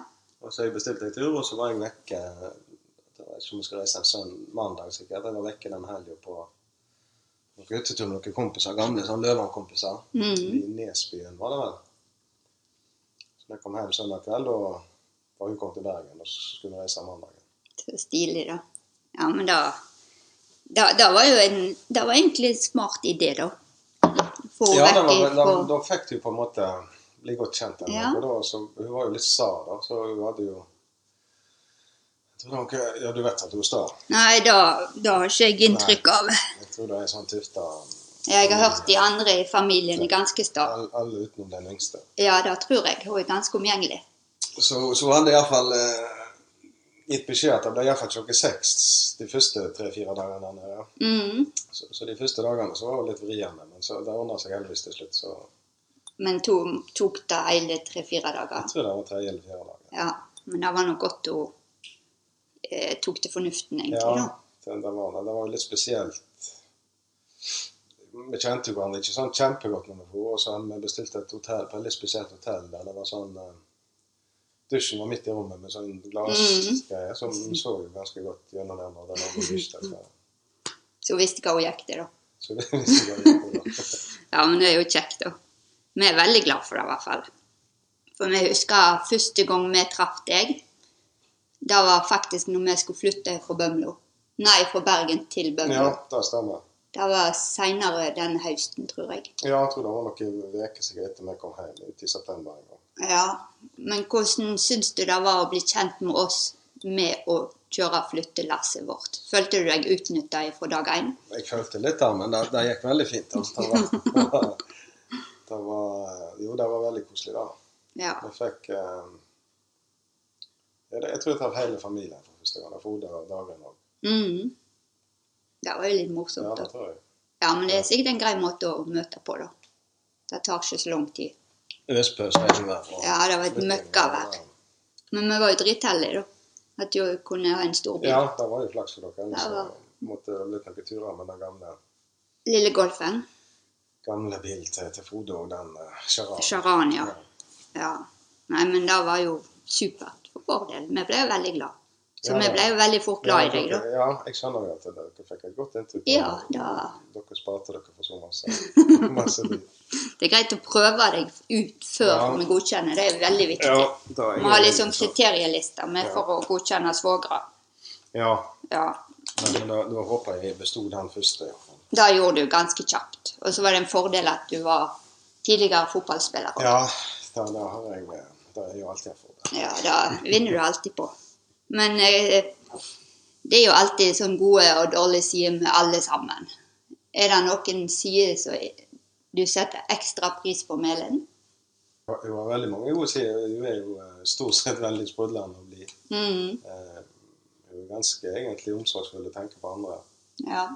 [SPEAKER 9] Og så jeg bestilte en tur, og så var jeg vekke Jeg vet ikke om jeg skal reise en sønn mandag, sikkert. Jeg var vekke den helgen på noen guttetur med noen kompiser, gamle sånn Løvan-kompiser.
[SPEAKER 1] Mhm.
[SPEAKER 9] I Nesbyen, var det vel. Så da jeg kom hjem søndag kveld, og var hun kommet til Bergen, og så skulle vi reise mandag.
[SPEAKER 1] Så stilig, da. Ja, men da Da, da var jo en Det var egentlig en smart idé, da. Få
[SPEAKER 9] Ja,
[SPEAKER 1] vekk
[SPEAKER 9] da, var, da,
[SPEAKER 1] ifra
[SPEAKER 9] da fikk du på en måte bli godt kjent henne.
[SPEAKER 1] Ja.
[SPEAKER 9] Og da, så, hun var jo litt sa, da, så hun hadde jo jeg tror nok, Ja, du vet at hun er sta.
[SPEAKER 1] Nei, da, da har ikke jeg inntrykk av.
[SPEAKER 9] Jeg tror det er sånn tufta
[SPEAKER 1] Jeg har hørt de andre i familien er ganske sta.
[SPEAKER 9] alle, alle utenom den yngste.
[SPEAKER 1] Ja, det tror jeg. Hun er ganske omgjengelig.
[SPEAKER 9] Så, så hadde jeg iallfall eh, gitt beskjed at det ble iallfall klokka seks de første tre-fire dagene der nede.
[SPEAKER 1] Mm.
[SPEAKER 9] Så, så de første dagene så var det litt vriene, men så, det ordna seg heldigvis til slutt. Så
[SPEAKER 1] Men to, tok det hele tre-fire dager.
[SPEAKER 9] jeg tror det var tredje eller fjerde dag.
[SPEAKER 1] Ja, Men det var nå godt hun eh, tok til fornuften, egentlig.
[SPEAKER 9] Ja,
[SPEAKER 1] da.
[SPEAKER 9] det, det var det. Det var jo litt spesielt. Vi kjente jo hverandre ikke sånn kjempegodt når vi dro, og så hadde vi bestilt et hotell, et veldig spesielt hotell der det var sånn eh, Dusjen var midt i rommet med sånn glassgreie, så vi så jo ganske godt gjennom den. og det var god dusj der, så-
[SPEAKER 1] Så hun visste hva hun gikk til, da.
[SPEAKER 9] Så det liksom visste jeg ikke.
[SPEAKER 1] Ja, men det er jo kjekt, da. Vi er veldig glad for det, i hvert fall. For vi husker første gang vi traff deg. Det var faktisk når vi skulle flytte fra Bømlo. Nei, fra Bergen til Bømlo.
[SPEAKER 9] Ja, det stemmer.
[SPEAKER 1] Det var seinere den høsten, tror jeg.
[SPEAKER 9] Ja, jeg tror det var noen uker sikkert etter vi kom hjem ut i september en gang.
[SPEAKER 1] Ja, Men hvordan syns du det var å bli kjent med oss med å kjøre flyttelasset vårt? Følte du deg utnytta fra dag én?
[SPEAKER 9] Jeg følte litt der, men det, det gikk veldig fint. Altså. Det, var, det var Jo, det var veldig koselig, da.
[SPEAKER 1] Ja.
[SPEAKER 9] Jeg fikk eh, ja, det- Jeg tror jeg traff hele familien for første gang. For Oda og Dagen òg.
[SPEAKER 1] Mm. Det var jo litt
[SPEAKER 9] Ja,
[SPEAKER 1] morsomt.
[SPEAKER 9] det
[SPEAKER 1] da.
[SPEAKER 9] tror jeg.
[SPEAKER 1] Ja, men det er sikkert en grei måte å møte på, da. Det tar ikke så lang tid.
[SPEAKER 9] Øspøs regnvær. og-
[SPEAKER 1] Ja, det var et møkkavær. Men vi var jo dritheldige, da. At jeg kunne ha en stor bil.
[SPEAKER 9] Ja, det var jo flaks for dere. Ellers
[SPEAKER 1] Det var-
[SPEAKER 9] så måtte det blitt noen turer med den gamle,
[SPEAKER 1] Lille Golfen.
[SPEAKER 9] gamle bilen til, til Frode og den uh, Charan.
[SPEAKER 1] Charan, ja. ja. Nei, men det var jo supert for vår del. Vi ble jo veldig glad. Så
[SPEAKER 9] Ja,
[SPEAKER 1] vi
[SPEAKER 9] da.
[SPEAKER 1] ble jo veldig fort glad i deg, da.
[SPEAKER 9] dere- Ja, jeg skjønner jo at dere fikk et godt inntrykk. av
[SPEAKER 1] Ja,
[SPEAKER 9] det.
[SPEAKER 1] da.
[SPEAKER 9] Dere sparte dere for så masse, masse dyr.
[SPEAKER 1] Det er greit å prøve deg ut før
[SPEAKER 9] Ja.
[SPEAKER 1] vi godkjenner. Det er veldig viktig.
[SPEAKER 9] Ja, da er
[SPEAKER 1] Vi har
[SPEAKER 9] jeg-
[SPEAKER 1] liksom kriterielister med
[SPEAKER 9] Ja.
[SPEAKER 1] for å godkjenne svogere.
[SPEAKER 9] Ja,
[SPEAKER 1] Ja,
[SPEAKER 9] men da, da håper jeg jeg besto den første. Ja.
[SPEAKER 1] Det gjorde du ganske kjapt. Og så var det en fordel at du var tidligere fotballspiller. også.
[SPEAKER 9] Ja, da, da har jeg eh, Da er jeg jo alltid for det.
[SPEAKER 1] Ja, det vinner du alltid på. Men eh, det er jo alltid sånn gode og dårlige sider med alle sammen. Er det noen sider som du setter ekstra pris på med Ellen?
[SPEAKER 9] Hun har veldig mange gode sider. Hun er jo eh, stort sett veldig sprudlende og blid.
[SPEAKER 1] Mhm.
[SPEAKER 9] Eh, Hun er ganske egentlig omsorgsfull og tenker på andre.
[SPEAKER 1] Ja,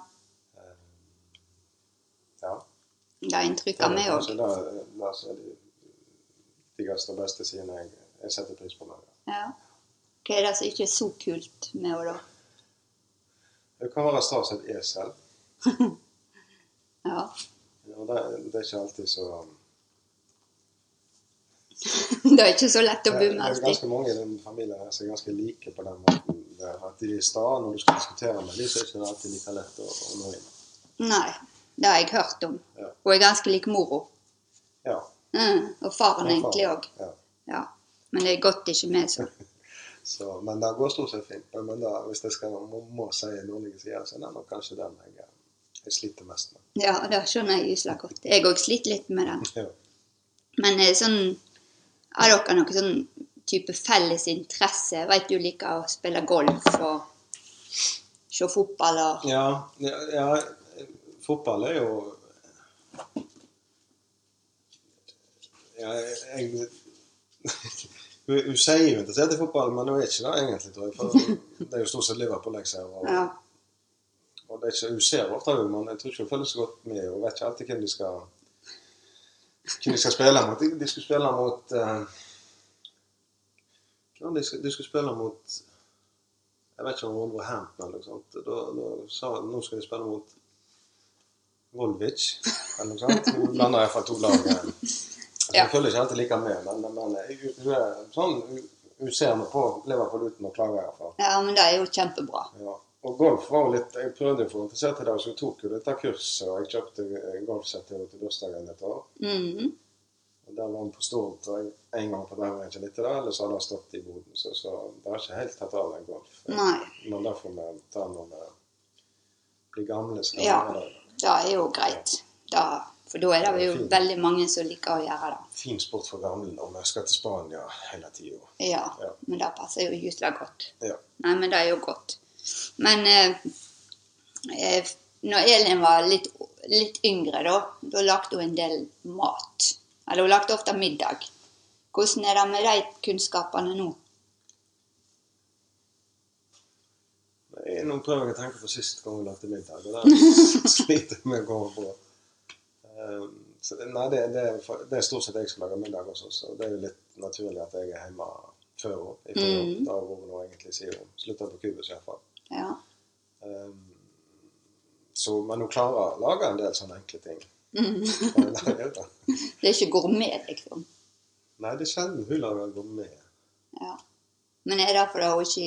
[SPEAKER 9] Ja.
[SPEAKER 1] det er inntrykk av
[SPEAKER 9] Det
[SPEAKER 1] meg
[SPEAKER 9] er
[SPEAKER 1] òg.
[SPEAKER 9] kanskje det- det er så de viktigste og beste sidene jeg, jeg setter pris på. med henne.
[SPEAKER 1] Ja. Hva er det som ikke er så kult med henne, da?
[SPEAKER 9] Hun kan være sta som et esel.
[SPEAKER 1] Ja.
[SPEAKER 9] Og det, det er ikke alltid så eh,
[SPEAKER 1] Det er ikke så lett å
[SPEAKER 9] Det
[SPEAKER 1] bomme
[SPEAKER 9] er
[SPEAKER 1] alltid.
[SPEAKER 9] ganske mange i den familien her som er ganske like på den måten. Det er At de er sta når du skal diskutere med dem, så er det ikke alltid like lett å, å nå inn.
[SPEAKER 1] Nei, det har jeg hørt om.
[SPEAKER 9] Ja.
[SPEAKER 1] Hun er ganske lik mora.
[SPEAKER 9] Ja.
[SPEAKER 1] Mm, og faren
[SPEAKER 9] Og
[SPEAKER 1] egentlig
[SPEAKER 9] faren,
[SPEAKER 1] òg.
[SPEAKER 9] ja.
[SPEAKER 1] Ja. Men det er godt det ikke er med sånn.
[SPEAKER 9] Så, men det går stort sett fint. Men, men da, hvis jeg skal må, må si dårlige sider, så er det nok kanskje den jeg, eh, jeg sliter mest med.
[SPEAKER 1] Ja, det skjønner jeg usla godt. Jeg òg sliter litt med den.
[SPEAKER 9] Ja.
[SPEAKER 1] Men eh, sånn Har dere noen sånn type felles interesse? Veit du liker å spille golf og se fotball og
[SPEAKER 9] Ja, ja, ja, fotball er jo ja, jeg, hun, hun sier hun er interessert i fotball, men hun er ikke det egentlig, tror jeg. For det er jo stort sett Liverpool jeg ser. Og,
[SPEAKER 1] Ja.
[SPEAKER 9] og det er ikke, hun ser ofte, hun, men jeg tror ikke hun følger så godt med. Hun vet ikke alltid hvem de skal, hvem de skal spille mot. De, de skulle spille mot eh, ja, de, skulle, de skulle spille mot Jeg vet ikke om Wolverhampton eller noe sånt. Da, da sa hun nå skal de spille mot Volvic eller noe sånt. Hun blander iallfall to lag. eh. Altså,
[SPEAKER 1] Ja.
[SPEAKER 9] Hun følger ikke alltid like med, men, men eh, hun- hun er sånn hun- Hun ser nå på Liverpool uten å klage, iallfall.
[SPEAKER 1] Ja, men det er jo kjempebra.
[SPEAKER 9] Ja. Og golf var jo litt Jeg prøvde å få henne interessert i det, så hun tok jo dette kurset. Og jeg kjøpte eh, golfsett til henne til bursdagen et år.
[SPEAKER 1] Mhm.
[SPEAKER 9] Og Der var hun på Stord og jeg- en gang på den veien ikke litt til det, ellers hadde hun stått i boden. Så, så det har ikke helt tatt av den golf.
[SPEAKER 1] Nei.
[SPEAKER 9] Men det får vi ta når vi blir gamle. Skal vi
[SPEAKER 1] Ja.
[SPEAKER 9] gjøre det.
[SPEAKER 1] Det er jo greit. Da, for da er det jo veldig mange som liker å gjøre det.
[SPEAKER 9] Fin sport for gamle når vi skal til Spania hele tida.
[SPEAKER 1] Ja. Men det passer jo jusla godt.
[SPEAKER 9] Ja.
[SPEAKER 1] Nei, men det er jo godt. Men eh, eh, når Elin var litt, litt yngre, da, da lagde hun en del mat. Eller hun lagde ofte middag. Hvordan er det med de kunnskapene nå?
[SPEAKER 9] Nei, Nå prøver jeg å tenke på sist gang vi lagde middag, og det sliter jeg med å komme på. Ehm, så det, nei, det, det, er, for- det er stort sett jeg som lager middag også, så det er jo litt naturlig at jeg er hjemme før henne. i forhold til
[SPEAKER 1] Mm.
[SPEAKER 9] Da hvor hun egentlig sier hun slutter på kubus, iallfall.
[SPEAKER 1] Ja.
[SPEAKER 9] Um, så, men hun klarer å lage en del sånne enkle ting.
[SPEAKER 1] Mm.
[SPEAKER 9] Og det er det.
[SPEAKER 1] Det er ikke gourmet, liksom.
[SPEAKER 9] Nei, det er sjelden hun lager gourmet.
[SPEAKER 1] Ja. Men er det fordi hun ikke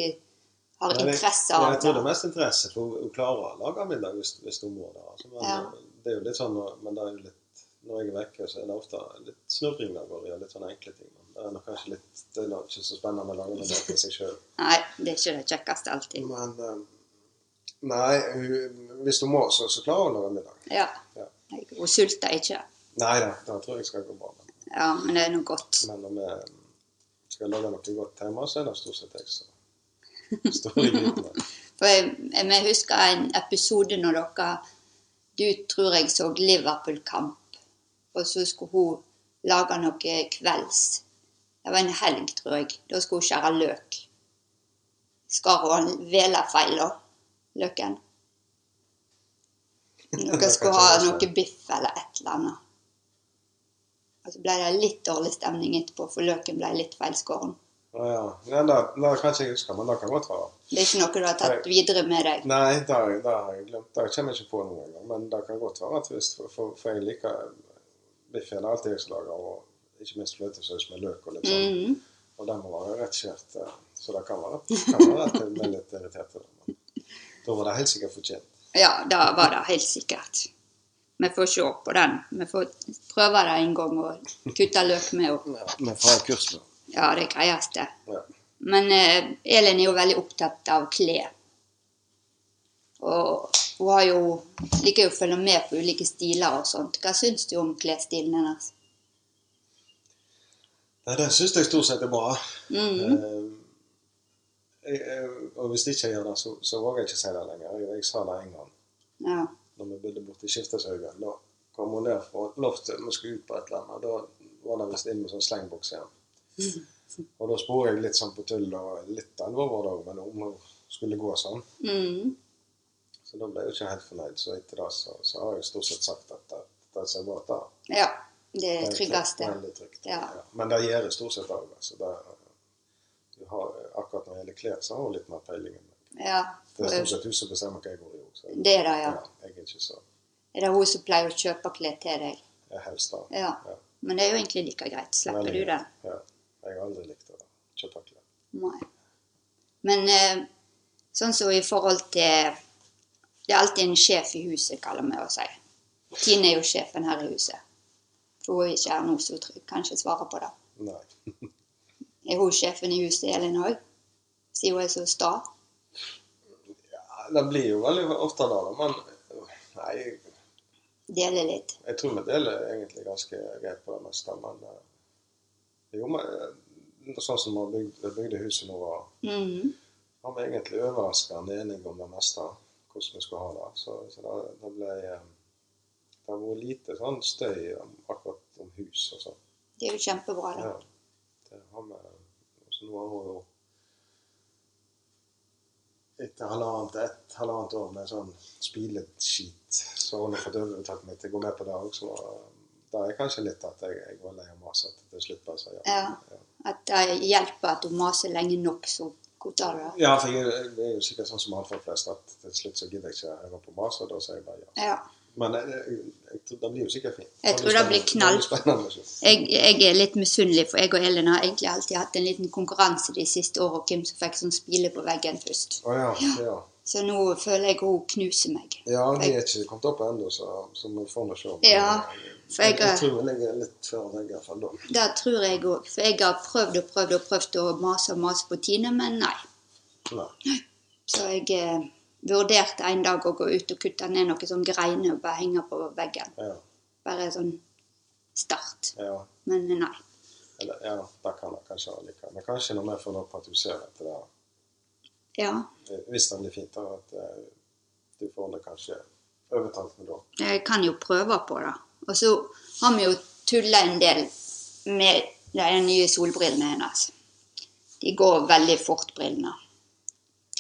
[SPEAKER 1] har
[SPEAKER 9] Nei, det-
[SPEAKER 1] interesse
[SPEAKER 9] nei,
[SPEAKER 1] av
[SPEAKER 9] Jeg tror det er mest interesse, for hun- hun klarer å lage middag hvis, hvis hun må det. Altså, men,
[SPEAKER 1] Ja.
[SPEAKER 9] det er jo litt sånn, når- men det er jo litt, når jeg er vekke, så er det ofte litt snurring der går i, og litt sånne enkle ting. Men det er nok kanskje litt, det er nok ikke så spennende å lage middag til seg sjøl.
[SPEAKER 1] Nei, det er ikke det kjekkeste alltid.
[SPEAKER 9] Men eh, nei, hun, hvis hun må, så, så klarer hun å lage middag.
[SPEAKER 1] Ja.
[SPEAKER 9] Ja.
[SPEAKER 1] Hun sulter ikke.
[SPEAKER 9] Nei da, det tror jeg skal gå bra. Men,
[SPEAKER 1] Ja, men det er noe godt.
[SPEAKER 9] men når vi skal lage noe godt hjemme, så er det stort sett jeg som står i gryten.
[SPEAKER 1] For jeg, jeg, jeg husker en episode når dere Du tror jeg så Liverpool-kamp, og så skulle hun lage noe kvelds. Det var en helg, tror jeg. Da skulle hun skjære løk. Skar hun vela feil, da? Løken. Dere skulle ha noe biff eller et eller annet. Og så ble det litt dårlig stemning etterpå, for løken ble litt feilskåren.
[SPEAKER 9] Å ja. Nei, da, da kan ikke jeg huske, men det kan godt være.
[SPEAKER 1] Det er ikke noe du har tatt videre med deg?
[SPEAKER 9] Nei, det har jeg det har jeg glemt. Det kommer jeg ikke på noen gang. Men det kan godt være at hvis For, for, for jeg liker biff er det alltid jeg som lager, og ikke minst fløtesaus med løk og litt sånn.
[SPEAKER 1] Mhm.
[SPEAKER 9] Og den må være rett skjært. eh, Så det kan være, kan være at jeg ble litt irritert. av det, Men da var det helt sikkert fortjent.
[SPEAKER 1] Ja, det var det helt sikkert. Vi får se på den. Vi får prøve det en gang og kutte løk med henne.
[SPEAKER 9] Men fra kurs nå.
[SPEAKER 1] Ja, det er greieste.
[SPEAKER 9] Ja.
[SPEAKER 1] Men eh, Elin er jo veldig opptatt av klær. Og hun har jo, liker jo å følge med på ulike stiler og sånt. Hva syns du om klesstilen hennes?
[SPEAKER 9] Nei, den syns jeg stort sett er bra.
[SPEAKER 1] Mhm.
[SPEAKER 9] Eh, jeg, jeg, og hvis ikke jeg gjør det, så, så våger jeg ikke si det lenger. Jeg, jeg sa det en gang.
[SPEAKER 1] Ja.
[SPEAKER 9] når vi bodde borte i Skifteshaugen. Da kom hun ned fra loftet, vi skulle ut på et eller annet. Da var det visst inn med sånn slengboks igjen. Og da spurte jeg litt sånn på tull og litt alvor var det òg, men om hun skulle gå sånn.
[SPEAKER 1] Mm.
[SPEAKER 9] Så da ble jeg jo ikke helt fornøyd. Så etter det så, så har jeg stort sett sagt at det, det ser bra ut. da.
[SPEAKER 1] ja. Det er det
[SPEAKER 9] Veldig-
[SPEAKER 1] tryggeste.
[SPEAKER 9] veldig trygt,
[SPEAKER 1] Ja.
[SPEAKER 9] Men det gjør jeg stort sett òg. Altså, Det- du har- akkurat når det gjelder klær, så har hun litt mer peiling enn meg.
[SPEAKER 1] ja. eh,
[SPEAKER 9] Det er stort sett hun som bestemmer hva jeg går i òg. så-
[SPEAKER 1] Det er det, ja.
[SPEAKER 9] Jeg er ikke så
[SPEAKER 1] Er det hun som pleier å kjøpe klær til deg?
[SPEAKER 9] jeg er helst da.
[SPEAKER 1] Ja. Men det er jo egentlig like greit. Slipper
[SPEAKER 9] Veldig
[SPEAKER 1] du det?
[SPEAKER 9] greit. Ja. Jeg har aldri likt å kjøpe klær.
[SPEAKER 1] Nei. Men eh, sånn som i forhold til Det er alltid en sjef i huset, kaller vi å si. Tine er jo sjefen her i huset. For hun er ikke her nå, så hun tr- kan ikke svare på det.
[SPEAKER 9] Nei.
[SPEAKER 1] Er hun sjefen i huset, Elin òg? Siden hun er så sta?
[SPEAKER 9] Ja, det blir jo veldig ofte det, da, men nei,
[SPEAKER 1] Deler litt.
[SPEAKER 9] jeg tror vi deler egentlig ganske greit på det meste. Men eh, jo, men eh, sånn som vi har bygd, bygde huset nå, var,
[SPEAKER 1] Mhm.
[SPEAKER 9] var vi egentlig overraskende enige om det meste. Hvordan vi skulle ha det. Så, så det, det ble eh, Det har vært lite sånn støy om, akkurat om hus og sånn.
[SPEAKER 1] Det er jo kjempebra, da.
[SPEAKER 9] Ja. Det har vi. Så altså, nå har hun jo etter halvannet, et halvannet år med sånn spileskit, så har hun fått overtalt meg til å gå med på det òg. Så det er kanskje litt at jeg, jeg var lei av maset til slutt. bare så ja.
[SPEAKER 1] Ja. At det hjelper at hun maser lenge nok, så godtar du det.
[SPEAKER 9] ja, for jeg, er- jeg er jo sikkert sånn som alle folk flest, at til slutt så gidder jeg ikke høre på mas, og da sier jeg bare ja.
[SPEAKER 1] Ja.
[SPEAKER 9] Men jeg, jeg, jeg, tror det blir jo sikkert fint.
[SPEAKER 1] Jeg tror det blir knall.
[SPEAKER 9] spennende. å se.
[SPEAKER 1] Jeg, jeg er litt misunnelig, for jeg og Elin har egentlig alltid hatt en liten konkurranse de siste årene om hvem som fikk sånn spile på veggen først.
[SPEAKER 9] Å ja. ja.
[SPEAKER 1] Så nå føler jeg hun knuser meg.
[SPEAKER 9] Ja, de er ikke kommet opp ennå, så, så vi får nå se. Men
[SPEAKER 1] Ja, for
[SPEAKER 9] jeg,
[SPEAKER 1] jeg,
[SPEAKER 9] jeg
[SPEAKER 1] har-
[SPEAKER 9] tror jeg er litt før deg i hvert fall da.
[SPEAKER 1] det tror jeg òg. For jeg har prøvd og prøvd og prøvd å mase og mase på Tine, men nei.
[SPEAKER 9] Nei.
[SPEAKER 1] Så jeg eh, vurderte en dag å gå ut og kutte ned noen sånn greiner og bare henge på veggen.
[SPEAKER 9] Ja.
[SPEAKER 1] Bare sånn start.
[SPEAKER 9] Ja,
[SPEAKER 1] Men nei.
[SPEAKER 9] eller, ja det kan jeg kanskje ha like. Men kanskje når vi får lov at du ser etter det,
[SPEAKER 1] Ja,
[SPEAKER 9] eh, hvis det blir fint, da, at eh, du får det kanskje overtalt med da.
[SPEAKER 1] jeg kan jo prøve på det. Og så har vi jo tulla en del med de nye solbrillene hennes. De går veldig fort, brillene.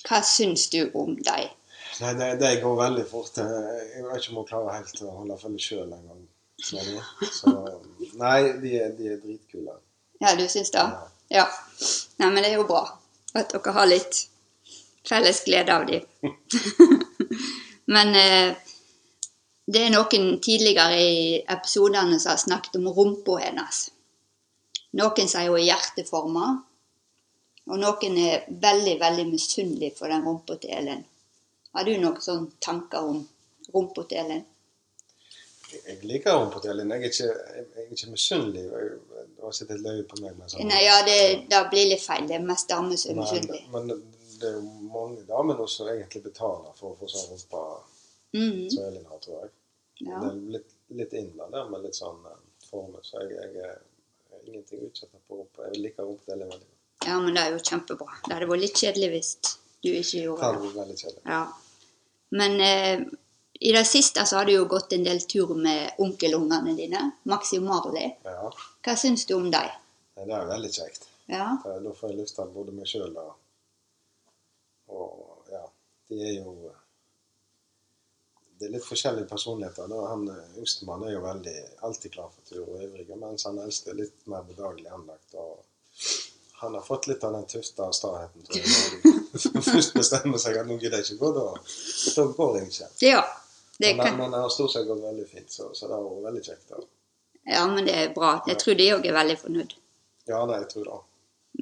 [SPEAKER 1] Hva syns du om dem?
[SPEAKER 9] Nei, det, det går veldig fort. Eh, Jeg vet ikke om hun klarer helt å holde følge sjøl engang. Så, nei, de er, de er dritkule.
[SPEAKER 1] Ja, du syns det? Ja. Nei, men det er jo bra at dere har litt felles glede av dem. men eh, det er noen tidligere i episodene som har snakket om rumpa hennes. Noen sier hun er hjerteforma, og noen er veldig, veldig misunnelig for den rumpa til Elin. Har du noen sånne tanker om rumpa til Elin?
[SPEAKER 9] Jeg liker henne på telen. Jeg er ikke, jeg, jeg er ikke misunnelig. Jeg- jeg- Det var sikkert et løye på meg. Men sånn-
[SPEAKER 1] Nei, ja, det, det blir litt feil. Det er mest damer som er
[SPEAKER 9] Men,
[SPEAKER 1] misunnelige.
[SPEAKER 9] men det er jo mange damer nå som egentlig betaler for å få sånn rumpa
[SPEAKER 1] Mhm.
[SPEAKER 9] som Elin har, tror jeg.
[SPEAKER 1] Ja.
[SPEAKER 9] Det er litt, litt inn der, der med litt sånn eh, former. Så jeg, jeg er ingenting utsatt på rumpa. Jeg liker rumpa til Elin veldig godt.
[SPEAKER 1] Ja, men det er jo kjempebra. Det hadde vært litt kjedelig hvis du ikke
[SPEAKER 9] Det
[SPEAKER 1] gjorde
[SPEAKER 9] er
[SPEAKER 1] det.
[SPEAKER 9] jo veldig kjedelig.
[SPEAKER 1] Ja. Men eh, i det siste så har du jo gått en del tur med onkelungene dine, Maxi og Marley.
[SPEAKER 9] Ja.
[SPEAKER 1] Hva syns du om dem?
[SPEAKER 9] Nei, Det er veldig kjekt.
[SPEAKER 1] Ja.
[SPEAKER 9] For Eh, Da får jeg lyst til både meg sjøl og, og Ja. De er jo Det er litt forskjellige personligheter. Da. Han eh, yngstemann er jo veldig alltid klar for tur og ivrig, mens han eldste er litt mer bedagelig anlagt. og Han har fått litt av den tufta staheten. tror jeg. Når han Først bestemmer seg at nå gidder jeg ikke gå, da, da går jeg ikke.
[SPEAKER 1] Ja. Det
[SPEAKER 9] Men
[SPEAKER 1] kan,
[SPEAKER 9] men det har stort sett gått veldig fint, så, så det har vært veldig kjekt. Da.
[SPEAKER 1] ja, men det er bra. Jeg tror de òg er veldig fornøyd.
[SPEAKER 9] Ja, nei, jeg tror det.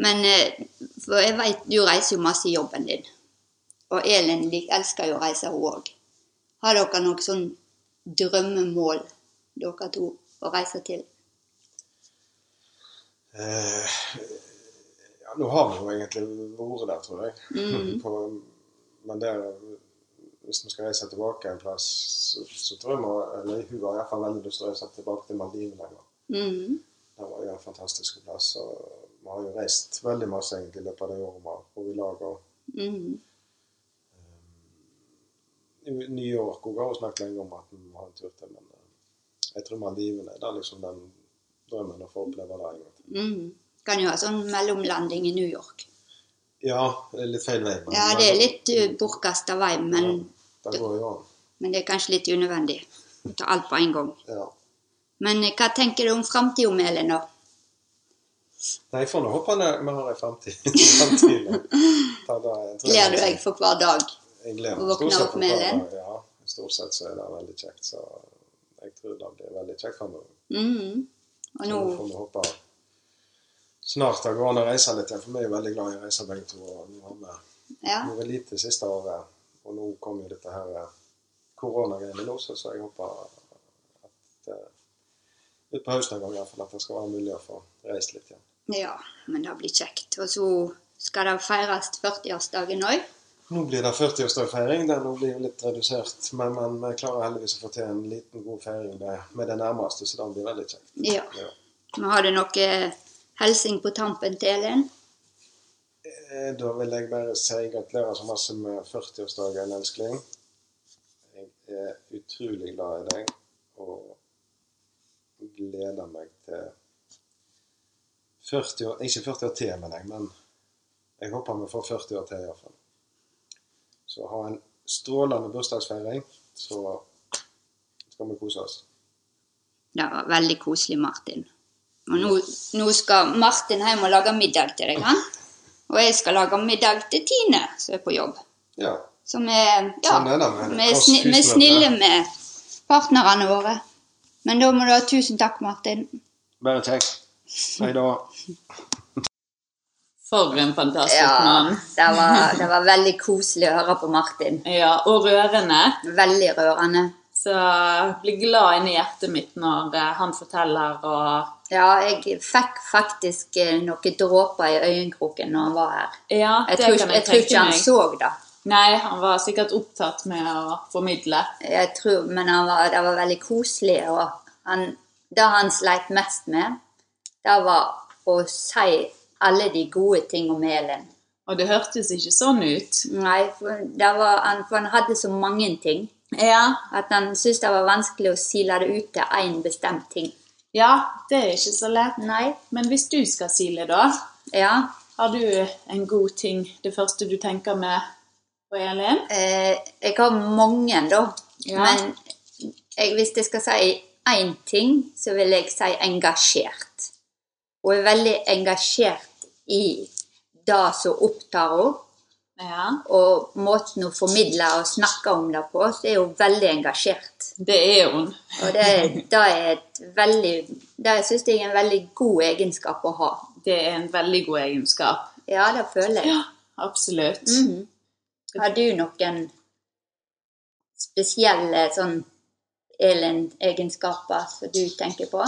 [SPEAKER 1] Men eh, for jeg vet, du reiser jo masse i jobben din. Og Elin lik, elsker jo å reise, hun òg. Har dere noe sånn drømmemål, dere to, å reise til?
[SPEAKER 9] Eh, ja, nå har vi jo egentlig vært der, tror jeg.
[SPEAKER 1] Mhm.
[SPEAKER 9] På, men det, hvis vi skal reise tilbake en plass, så, så tror jeg vi Eller hun har iallfall veldig lyst til å reise tilbake til Maldivene. en gang.
[SPEAKER 1] Mhm.
[SPEAKER 9] Det var jo en fantastisk plass. Og vi har jo reist veldig masse egentlig i løpet av det året vi har vært i lag. Og
[SPEAKER 1] Mhm.
[SPEAKER 9] New New York også har hun snakket lenge om at vi har en tur til, men eh, jeg tror Maldivene det er liksom den drømmen å få oppleve det en gang.
[SPEAKER 1] Mhm. Kan jo ha sånn mellomlanding i New York.
[SPEAKER 9] Ja, det er litt feil vei. men-
[SPEAKER 1] Ja, det er litt eh, bortkasta vei, men,
[SPEAKER 9] Det går jo an.
[SPEAKER 1] men det er kanskje litt unødvendig. å Ta alt på en gang.
[SPEAKER 9] Ja.
[SPEAKER 1] Men eh, hva tenker du om framtida, Elin? da?
[SPEAKER 9] Nei, jeg får nå håpe det vi har en framtid. Framtid, ja. Ta det, jeg tror
[SPEAKER 1] Gleder du
[SPEAKER 9] jeg-
[SPEAKER 1] deg for hver dag?
[SPEAKER 9] Jeg gleder
[SPEAKER 1] å
[SPEAKER 9] meg
[SPEAKER 1] våkne
[SPEAKER 9] stort sett
[SPEAKER 1] opp
[SPEAKER 9] for
[SPEAKER 1] med
[SPEAKER 9] hver
[SPEAKER 1] Ellen?
[SPEAKER 9] dag, Ja, stort sett så er det veldig kjekt. Så jeg tror det blir veldig kjekt framover.
[SPEAKER 1] Mhm. Og
[SPEAKER 9] Så
[SPEAKER 1] nå
[SPEAKER 9] nå får vi håpe snart det går an å reise litt igjen. For vi er jo veldig glad i å reise begge to. og Nå har vi
[SPEAKER 1] Ja.
[SPEAKER 9] vært lite siste året, og nå kom jo dette her eh, koronagreiene nå, så så jeg håper at eh, utpå høsten en gang i hvert fall at det skal være mulig å få reist litt igjen.
[SPEAKER 1] Ja, men det blir kjekt. Og så skal det feires 40-årsdagen òg.
[SPEAKER 9] Nå blir det 40-årsdagsfeiring. Den nå blir jo litt redusert, men, men vi klarer heldigvis å få til en liten, god feiring med, med det nærmeste, så det blir veldig kjekt.
[SPEAKER 1] Ja. Vi har du noe hilsing på tampen til Elin?
[SPEAKER 9] Eh, Da vil jeg bare si gratulerer så masse med 40-årsdagen, Ellen Skling. Jeg er utrolig glad i deg og gleder meg til 40 år, Ikke 40 år til, mener jeg, men jeg håper vi får 40 år til iallfall. Så ha en strålende bursdagsfeiring, så skal vi kose oss.
[SPEAKER 1] Det var veldig koselig, Martin. Og nå, nå skal Martin hjem og lage middag til deg, han. Og jeg skal lage middag til Tine, som er på jobb.
[SPEAKER 9] Ja.
[SPEAKER 1] Så vi, ja,
[SPEAKER 9] Sånn er det med
[SPEAKER 1] vi, er
[SPEAKER 9] oss
[SPEAKER 1] sni, vi er
[SPEAKER 9] husmødre.
[SPEAKER 1] snille med partnerne våre. Men da må du ha tusen takk, Martin.
[SPEAKER 9] Bare kjekt. Hei da.
[SPEAKER 2] For en fantastisk
[SPEAKER 1] Ja,
[SPEAKER 2] mann.
[SPEAKER 1] det var, det var veldig koselig å høre på Martin.
[SPEAKER 2] Ja, og rørende.
[SPEAKER 1] Veldig rørende.
[SPEAKER 2] Så jeg blir glad inni hjertet mitt når eh, han forteller og
[SPEAKER 1] Ja, jeg fikk faktisk eh, noen dråper i øyekroken når han var her.
[SPEAKER 2] Ja,
[SPEAKER 1] jeg
[SPEAKER 2] det
[SPEAKER 1] tror,
[SPEAKER 2] kan jeg
[SPEAKER 1] jeg tror
[SPEAKER 2] tenke
[SPEAKER 1] ikke han
[SPEAKER 2] meg.
[SPEAKER 1] så det.
[SPEAKER 2] Nei, han var sikkert opptatt med å formidle.
[SPEAKER 1] Jeg tror, men han var, det var veldig koselig. Og han, det han sleit mest med, det var å si alle de gode ting om Elin.
[SPEAKER 2] Og det hørtes ikke sånn ut.
[SPEAKER 1] Nei, for, det var, han, for han hadde så mange ting at han syntes det var vanskelig å sile det ut til én bestemt ting.
[SPEAKER 2] Ja, det er ikke så lett. Men hvis du skal sile, da, har du en god ting det første du tenker med på Elin?
[SPEAKER 1] Eh, jeg har mange, da.
[SPEAKER 2] Ja.
[SPEAKER 1] Men jeg, hvis jeg skal si én ting, så vil jeg si engasjert. Hun er veldig engasjert i det som opptar henne. Og måten hun formidler og snakker om det på, så er hun veldig engasjert.
[SPEAKER 2] Det er hun.
[SPEAKER 1] Og det, er- det er et veldig Det syns jeg er en veldig god egenskap å ha.
[SPEAKER 2] Det er en veldig god egenskap.
[SPEAKER 1] Ja, det føler jeg.
[SPEAKER 2] Ja, absolutt.
[SPEAKER 1] Mhm. Har du noen spesielle sånn Elin-egenskaper som du tenker på?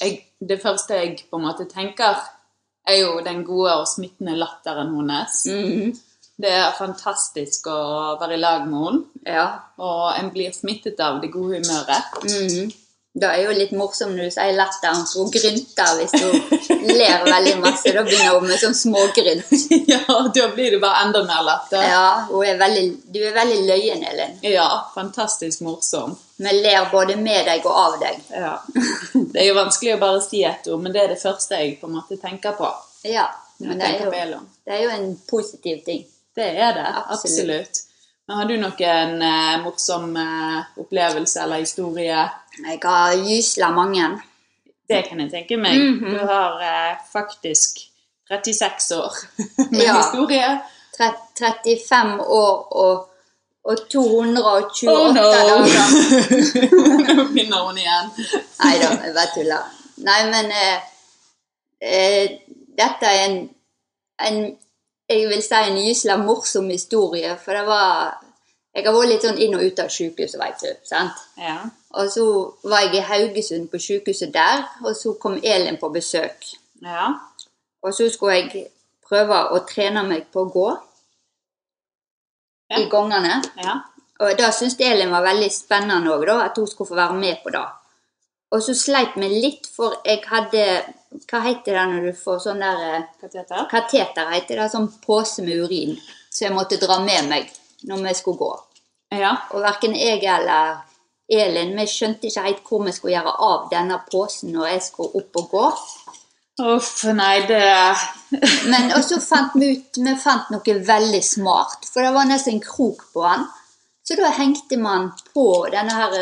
[SPEAKER 2] Jeg, det første jeg på en måte tenker, er jo den gode og smittende latteren hennes.
[SPEAKER 1] Mm.
[SPEAKER 2] Det er fantastisk å være i lag med henne. Og en blir smittet av det gode humøret.
[SPEAKER 1] Mhm. Det er jo litt morsomt når du sier latteren, for hun grynter hvis hun ler veldig masse. Da begynner hun med sånn smågrynt.
[SPEAKER 2] ja, da blir det bare enda mer latter.
[SPEAKER 1] Ja, hun er veldig, du er veldig løyen, Elin.
[SPEAKER 2] Ja, fantastisk morsom.
[SPEAKER 1] Vi ler både med deg og av deg.
[SPEAKER 2] Ja. Det er jo vanskelig å bare si et ord, men det er det første jeg på en måte tenker på.
[SPEAKER 1] Ja,
[SPEAKER 2] Når
[SPEAKER 1] men
[SPEAKER 2] jeg
[SPEAKER 1] det er,
[SPEAKER 2] tenker
[SPEAKER 1] jo,
[SPEAKER 2] på Elon.
[SPEAKER 1] det er jo en positiv ting.
[SPEAKER 2] Det er det,
[SPEAKER 1] Absolutt.
[SPEAKER 2] absolutt. Men har du noen eh, morsom eh, opplevelse eller historie?
[SPEAKER 1] Jeg har gysla mange.
[SPEAKER 2] Det kan jeg tenke meg.
[SPEAKER 1] Mhm.
[SPEAKER 2] Du har eh, faktisk 36 år med
[SPEAKER 1] Ja.
[SPEAKER 2] historie.
[SPEAKER 1] Tre- 35 år og, og 228
[SPEAKER 2] Oh, no.
[SPEAKER 1] dager.
[SPEAKER 2] Nå begynner hun igjen.
[SPEAKER 1] Nei da, jeg bare tuller. Nei, men eh, eh, dette er en, en Jeg vil si en gysla morsom historie, for det var Jeg har vært litt sånn inn og ut av sykehus, veit du. sant?
[SPEAKER 2] Ja.
[SPEAKER 1] Og så var jeg i Haugesund på sykehuset der, og så kom Elin på besøk.
[SPEAKER 2] Ja.
[SPEAKER 1] Og så skulle jeg prøve å trene meg på å gå i gangene. Og da syntes Elin var veldig spennende òg, at hun skulle få være med på det. Og så sleit vi litt, for jeg hadde Hva heter det når du får sånn der eh,
[SPEAKER 2] Kateter?
[SPEAKER 1] Kateter heter det. Sånn pose med urin. Så jeg måtte dra med meg når vi skulle gå. Og verken jeg eller Elin vi skjønte ikke helt hvor vi skulle gjøre av denne posen når jeg skulle opp og gå.
[SPEAKER 2] Uff, nei, det
[SPEAKER 1] Men og så fant vi ut Vi fant noe veldig smart, for det var nesten en krok på den. Så da hengte man på denne her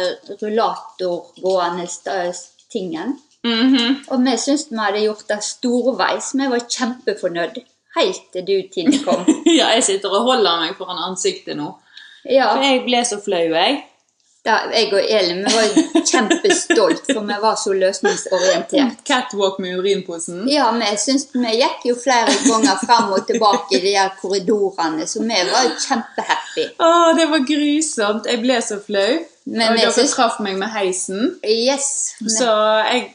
[SPEAKER 1] rullatorgående st- eh, tingen. Og vi syntes vi hadde gjort det storveis. Vi var kjempefornøyd. Helt til du, Tine, kom.
[SPEAKER 2] Ja, jeg sitter og holder meg foran ansiktet nå.
[SPEAKER 1] Ja.
[SPEAKER 2] For jeg ble så flau, jeg.
[SPEAKER 1] Da, jeg og Elin vi var kjempestolt, for vi var så løsningsorientert.
[SPEAKER 2] Catwalk med urinposen.
[SPEAKER 1] Ja, vi syns vi gikk jo flere ganger fram og tilbake i de her korridorene, så vi var jo kjempehappy.
[SPEAKER 2] Å, det var grusomt. Jeg ble så flau.
[SPEAKER 1] Men
[SPEAKER 2] og
[SPEAKER 1] jeg
[SPEAKER 2] dere
[SPEAKER 1] synes-
[SPEAKER 2] traff meg med heisen.
[SPEAKER 1] Yes.
[SPEAKER 2] Så jeg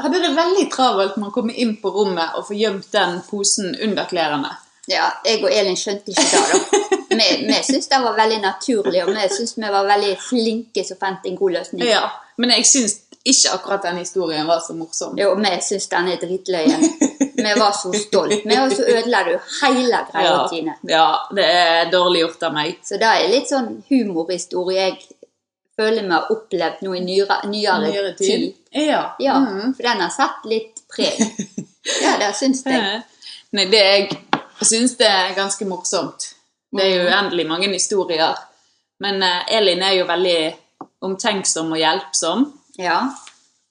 [SPEAKER 2] hadde det veldig travelt med å komme inn på rommet og få gjemt den posen under klærne.
[SPEAKER 1] Ja, jeg og Elin skjønte ikke det, da. Vi, vi syntes det var veldig naturlig, og vi syntes vi var veldig flinke som fant en god løsning.
[SPEAKER 2] Ja, Men jeg syns ikke akkurat den historien var så morsom.
[SPEAKER 1] Jo, vi syns den er dritløyen. Vi var så stolt. Vi og så ødela du hele greia,
[SPEAKER 2] Ja,
[SPEAKER 1] Tine.
[SPEAKER 2] ja, det er dårlig gjort av meg.
[SPEAKER 1] Så det er litt sånn humorhistorie jeg føler vi har opplevd nå i nyere, nyere,
[SPEAKER 2] Nyere
[SPEAKER 1] tid.
[SPEAKER 2] tid. Ja. Mm.
[SPEAKER 1] Ja, For den har satt litt preg. Ja, det syns jeg.
[SPEAKER 2] Nei, det jeg syns det er ganske morsomt. Det er jo uendelig mange historier. Men eh, Elin er jo veldig omtenksom og hjelpsom.
[SPEAKER 1] Ja.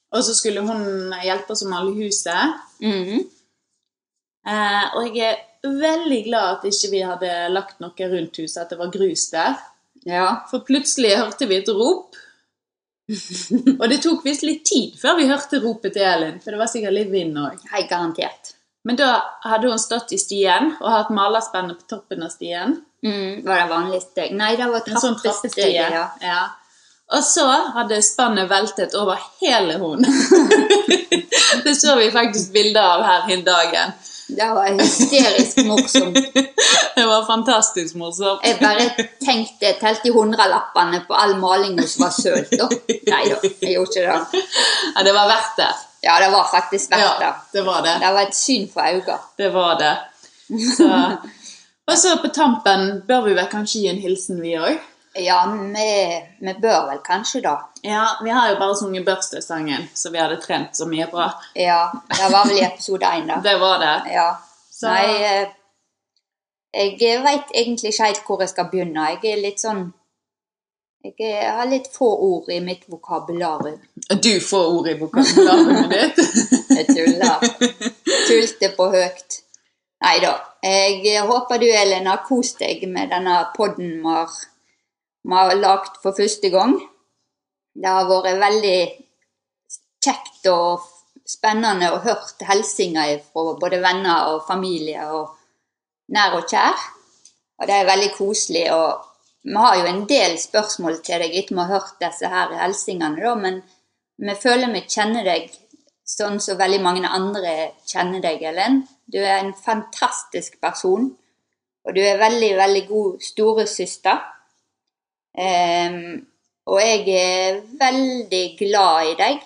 [SPEAKER 2] Og så skulle hun hjelpe oss å male huset. Eh, og jeg er veldig glad at ikke vi hadde lagt noe rundt huset, at det var grus der. For plutselig hørte vi et rop. og det tok visst litt tid før vi hørte ropet til Elin, for det var sikkert litt vind òg.
[SPEAKER 1] Garantert.
[SPEAKER 2] Men da hadde hun stått i stien og hatt malerspennet på toppen av stien.
[SPEAKER 1] Mm, var det vanlig steg? Nei, det var
[SPEAKER 2] En sånn trappestige.
[SPEAKER 1] trappesteg. Ja.
[SPEAKER 2] Ja. Og så hadde spannet veltet over hele hunden. det så vi faktisk bilder av her hin dagen.
[SPEAKER 1] Det var hysterisk morsomt.
[SPEAKER 2] det var fantastisk morsomt.
[SPEAKER 1] Jeg bare tenkte jeg telte i hundrelappene på all malinga som var sølt. da. Nei da, jeg gjorde ikke det.
[SPEAKER 2] Ja, det var verdt det.
[SPEAKER 1] Ja, det var faktisk verdt det.
[SPEAKER 2] det var det.
[SPEAKER 1] Det var et syn for øynene.
[SPEAKER 2] Det var det. Så. Og så på tampen bør vi vel kanskje gi en hilsen, vi òg?
[SPEAKER 1] Ja, vi, vi bør vel kanskje da.
[SPEAKER 2] Ja, vi har jo bare sunget Børstø-sangen, så vi hadde trent så mye bra.
[SPEAKER 1] Ja, det var vel i episode én, da.
[SPEAKER 2] Det var det.
[SPEAKER 1] Ja.
[SPEAKER 2] Så-
[SPEAKER 1] Nei, eh, jeg veit egentlig ikke helt hvor jeg skal begynne. Jeg er litt sånn Jeg er- har litt få ord i mitt vokabular.
[SPEAKER 2] Du får ordet i vokabularet ditt.
[SPEAKER 1] Jeg tuller. Tulte på høyt. Nei da. Jeg håper du, Elin, har kost deg med denne podden vi har, vi har lagd for første gang. Det har vært veldig kjekt og spennende å hørt hilsener fra både venner og familie og nær og kjær. Og det er veldig koselig. Og vi har jo en del spørsmål til deg etter vi har hørt disse her hilsingene, da, men vi føler vi kjenner deg sånn som veldig mange andre kjenner deg, Ellen. Du er en fantastisk person, og du er veldig, veldig god storesøster. Ehm, og jeg er veldig glad i deg.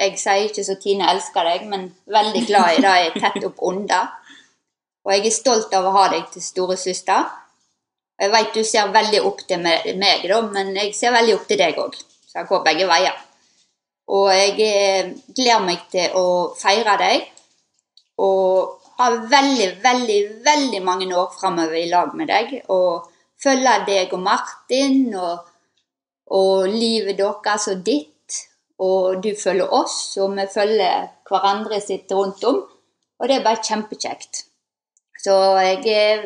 [SPEAKER 1] Jeg sier ikke så Tine elsker deg, men veldig glad i det jeg er tett opp under. Og jeg er stolt av å ha deg til storesøster. Og Jeg vet du ser veldig opp til me- meg, da, men jeg ser veldig opp til deg òg. Så det går begge veier. Og jeg eh, gleder meg til å feire deg. Og ha veldig, veldig, veldig mange år framover i lag med deg. Og følge deg og Martin og, og livet deres og ditt. Og du følger oss, og vi følger hverandre sitt rundt om. Og det er bare kjempekjekt. Så jeg er,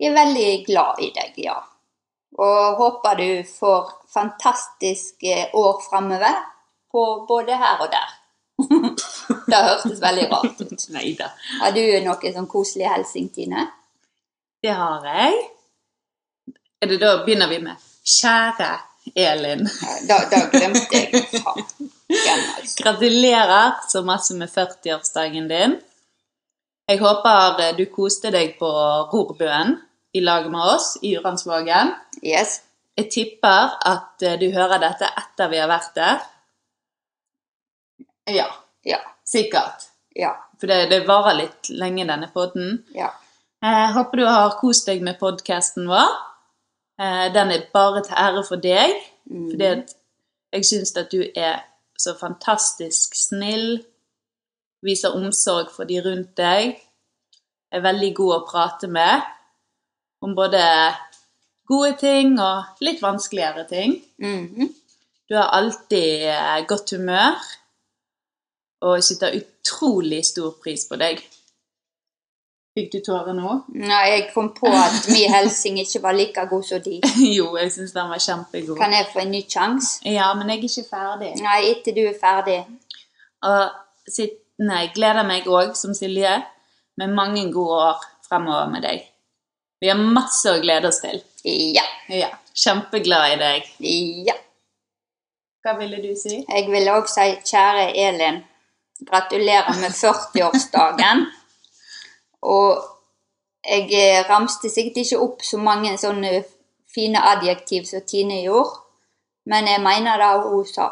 [SPEAKER 1] jeg er veldig glad i deg, ja. Og håper du får fantastiske år framover, på både her og der. det hørtes veldig rart ut.
[SPEAKER 2] Neida.
[SPEAKER 1] Har du noe sånn koselig hilsing, Tine?
[SPEAKER 2] Det har jeg. Er det da begynner vi med 'Kjære Elin'?
[SPEAKER 1] Da, glemte jeg altså.
[SPEAKER 2] Gratulerer så masse med 40-årsdagen din. Jeg håper eh, du koste deg på Rorbøen i lag med oss i Uransvågen.
[SPEAKER 1] Yes.
[SPEAKER 2] Jeg tipper at eh, du hører dette etter vi har vært der. Ja.
[SPEAKER 1] Ja.
[SPEAKER 2] Sikkert.
[SPEAKER 1] Ja.
[SPEAKER 2] For det, det varer litt lenge, denne podden.
[SPEAKER 1] Ja.
[SPEAKER 2] Jeg håper du har kost deg med podkasten vår. Eh, Den er bare til ære for deg.
[SPEAKER 1] Mhm.
[SPEAKER 2] Fordi at jeg syns at du er så fantastisk snill. Viser omsorg for de rundt deg. Er veldig god å prate med. Om både gode ting og litt vanskeligere ting. Mhm. Du har alltid eh, godt humør. Og jeg setter utrolig stor pris på deg. Fikk du tårer nå?
[SPEAKER 1] Nei, jeg kom på at min hilsing ikke var like god som de.
[SPEAKER 2] jo, jeg syns den var kjempegod.
[SPEAKER 1] Kan jeg få en ny sjanse?
[SPEAKER 2] Ja, men jeg er ikke ferdig.
[SPEAKER 1] Nei, etter du er ferdig.
[SPEAKER 2] Og sittende gleder meg òg, som Silje, med mange gode år fremover med deg. Vi har masse å glede oss til.
[SPEAKER 1] Ja.
[SPEAKER 2] ja. Kjempeglad i deg.
[SPEAKER 1] Ja.
[SPEAKER 2] Hva ville du si?
[SPEAKER 1] Jeg vil òg si kjære Elin, gratulerer med 40-årsdagen. Og jeg eh, ramste sikkert ikke opp så mange sånne fine adjektiv som Tine gjorde, men jeg mener det hun sa.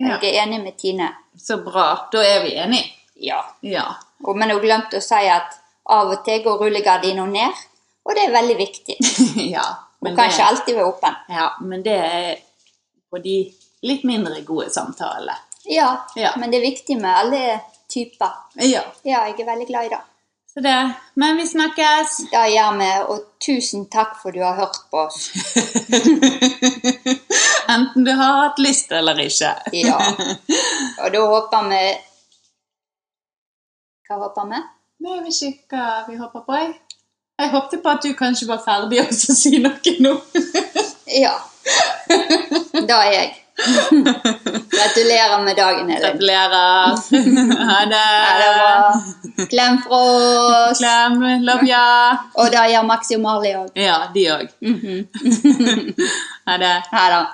[SPEAKER 1] Jeg er enig med Tine.
[SPEAKER 2] Så bra. Da er vi enige.
[SPEAKER 1] Ja.
[SPEAKER 2] Ja.
[SPEAKER 1] Og, men hun glemte å si at av og til går rullegardina ned, og det er veldig viktig.
[SPEAKER 2] ja
[SPEAKER 1] Hun kan ikke alltid være åpen.
[SPEAKER 2] Ja, men det er på de litt mindre gode samtalene.
[SPEAKER 1] Ja,
[SPEAKER 2] Ja.
[SPEAKER 1] men det er viktig med alle typer.
[SPEAKER 2] Ja.
[SPEAKER 1] Ja, jeg er veldig glad i det.
[SPEAKER 2] Så det. Men vi snakkes.
[SPEAKER 1] Det gjør vi, og tusen takk for du har hørt på oss.
[SPEAKER 2] Enten du har hatt lyst eller ikke.
[SPEAKER 1] Ja. Og da håper vi Hva håper vi?
[SPEAKER 2] Nei, jeg vet ikke hva vi håper på, jeg. Jeg håpte på at du kanskje var ferdig og så si noe nå.
[SPEAKER 1] Ja. Det er jeg. Gratulerer med dagen, Elin.
[SPEAKER 2] Gratulerer. Ha det.
[SPEAKER 1] Klem fra oss.
[SPEAKER 2] Klem. Love ya. Mhm.
[SPEAKER 1] Og det gjør Maxi og Marley òg.
[SPEAKER 2] Ja, de òg. Ha det.
[SPEAKER 1] Ha det.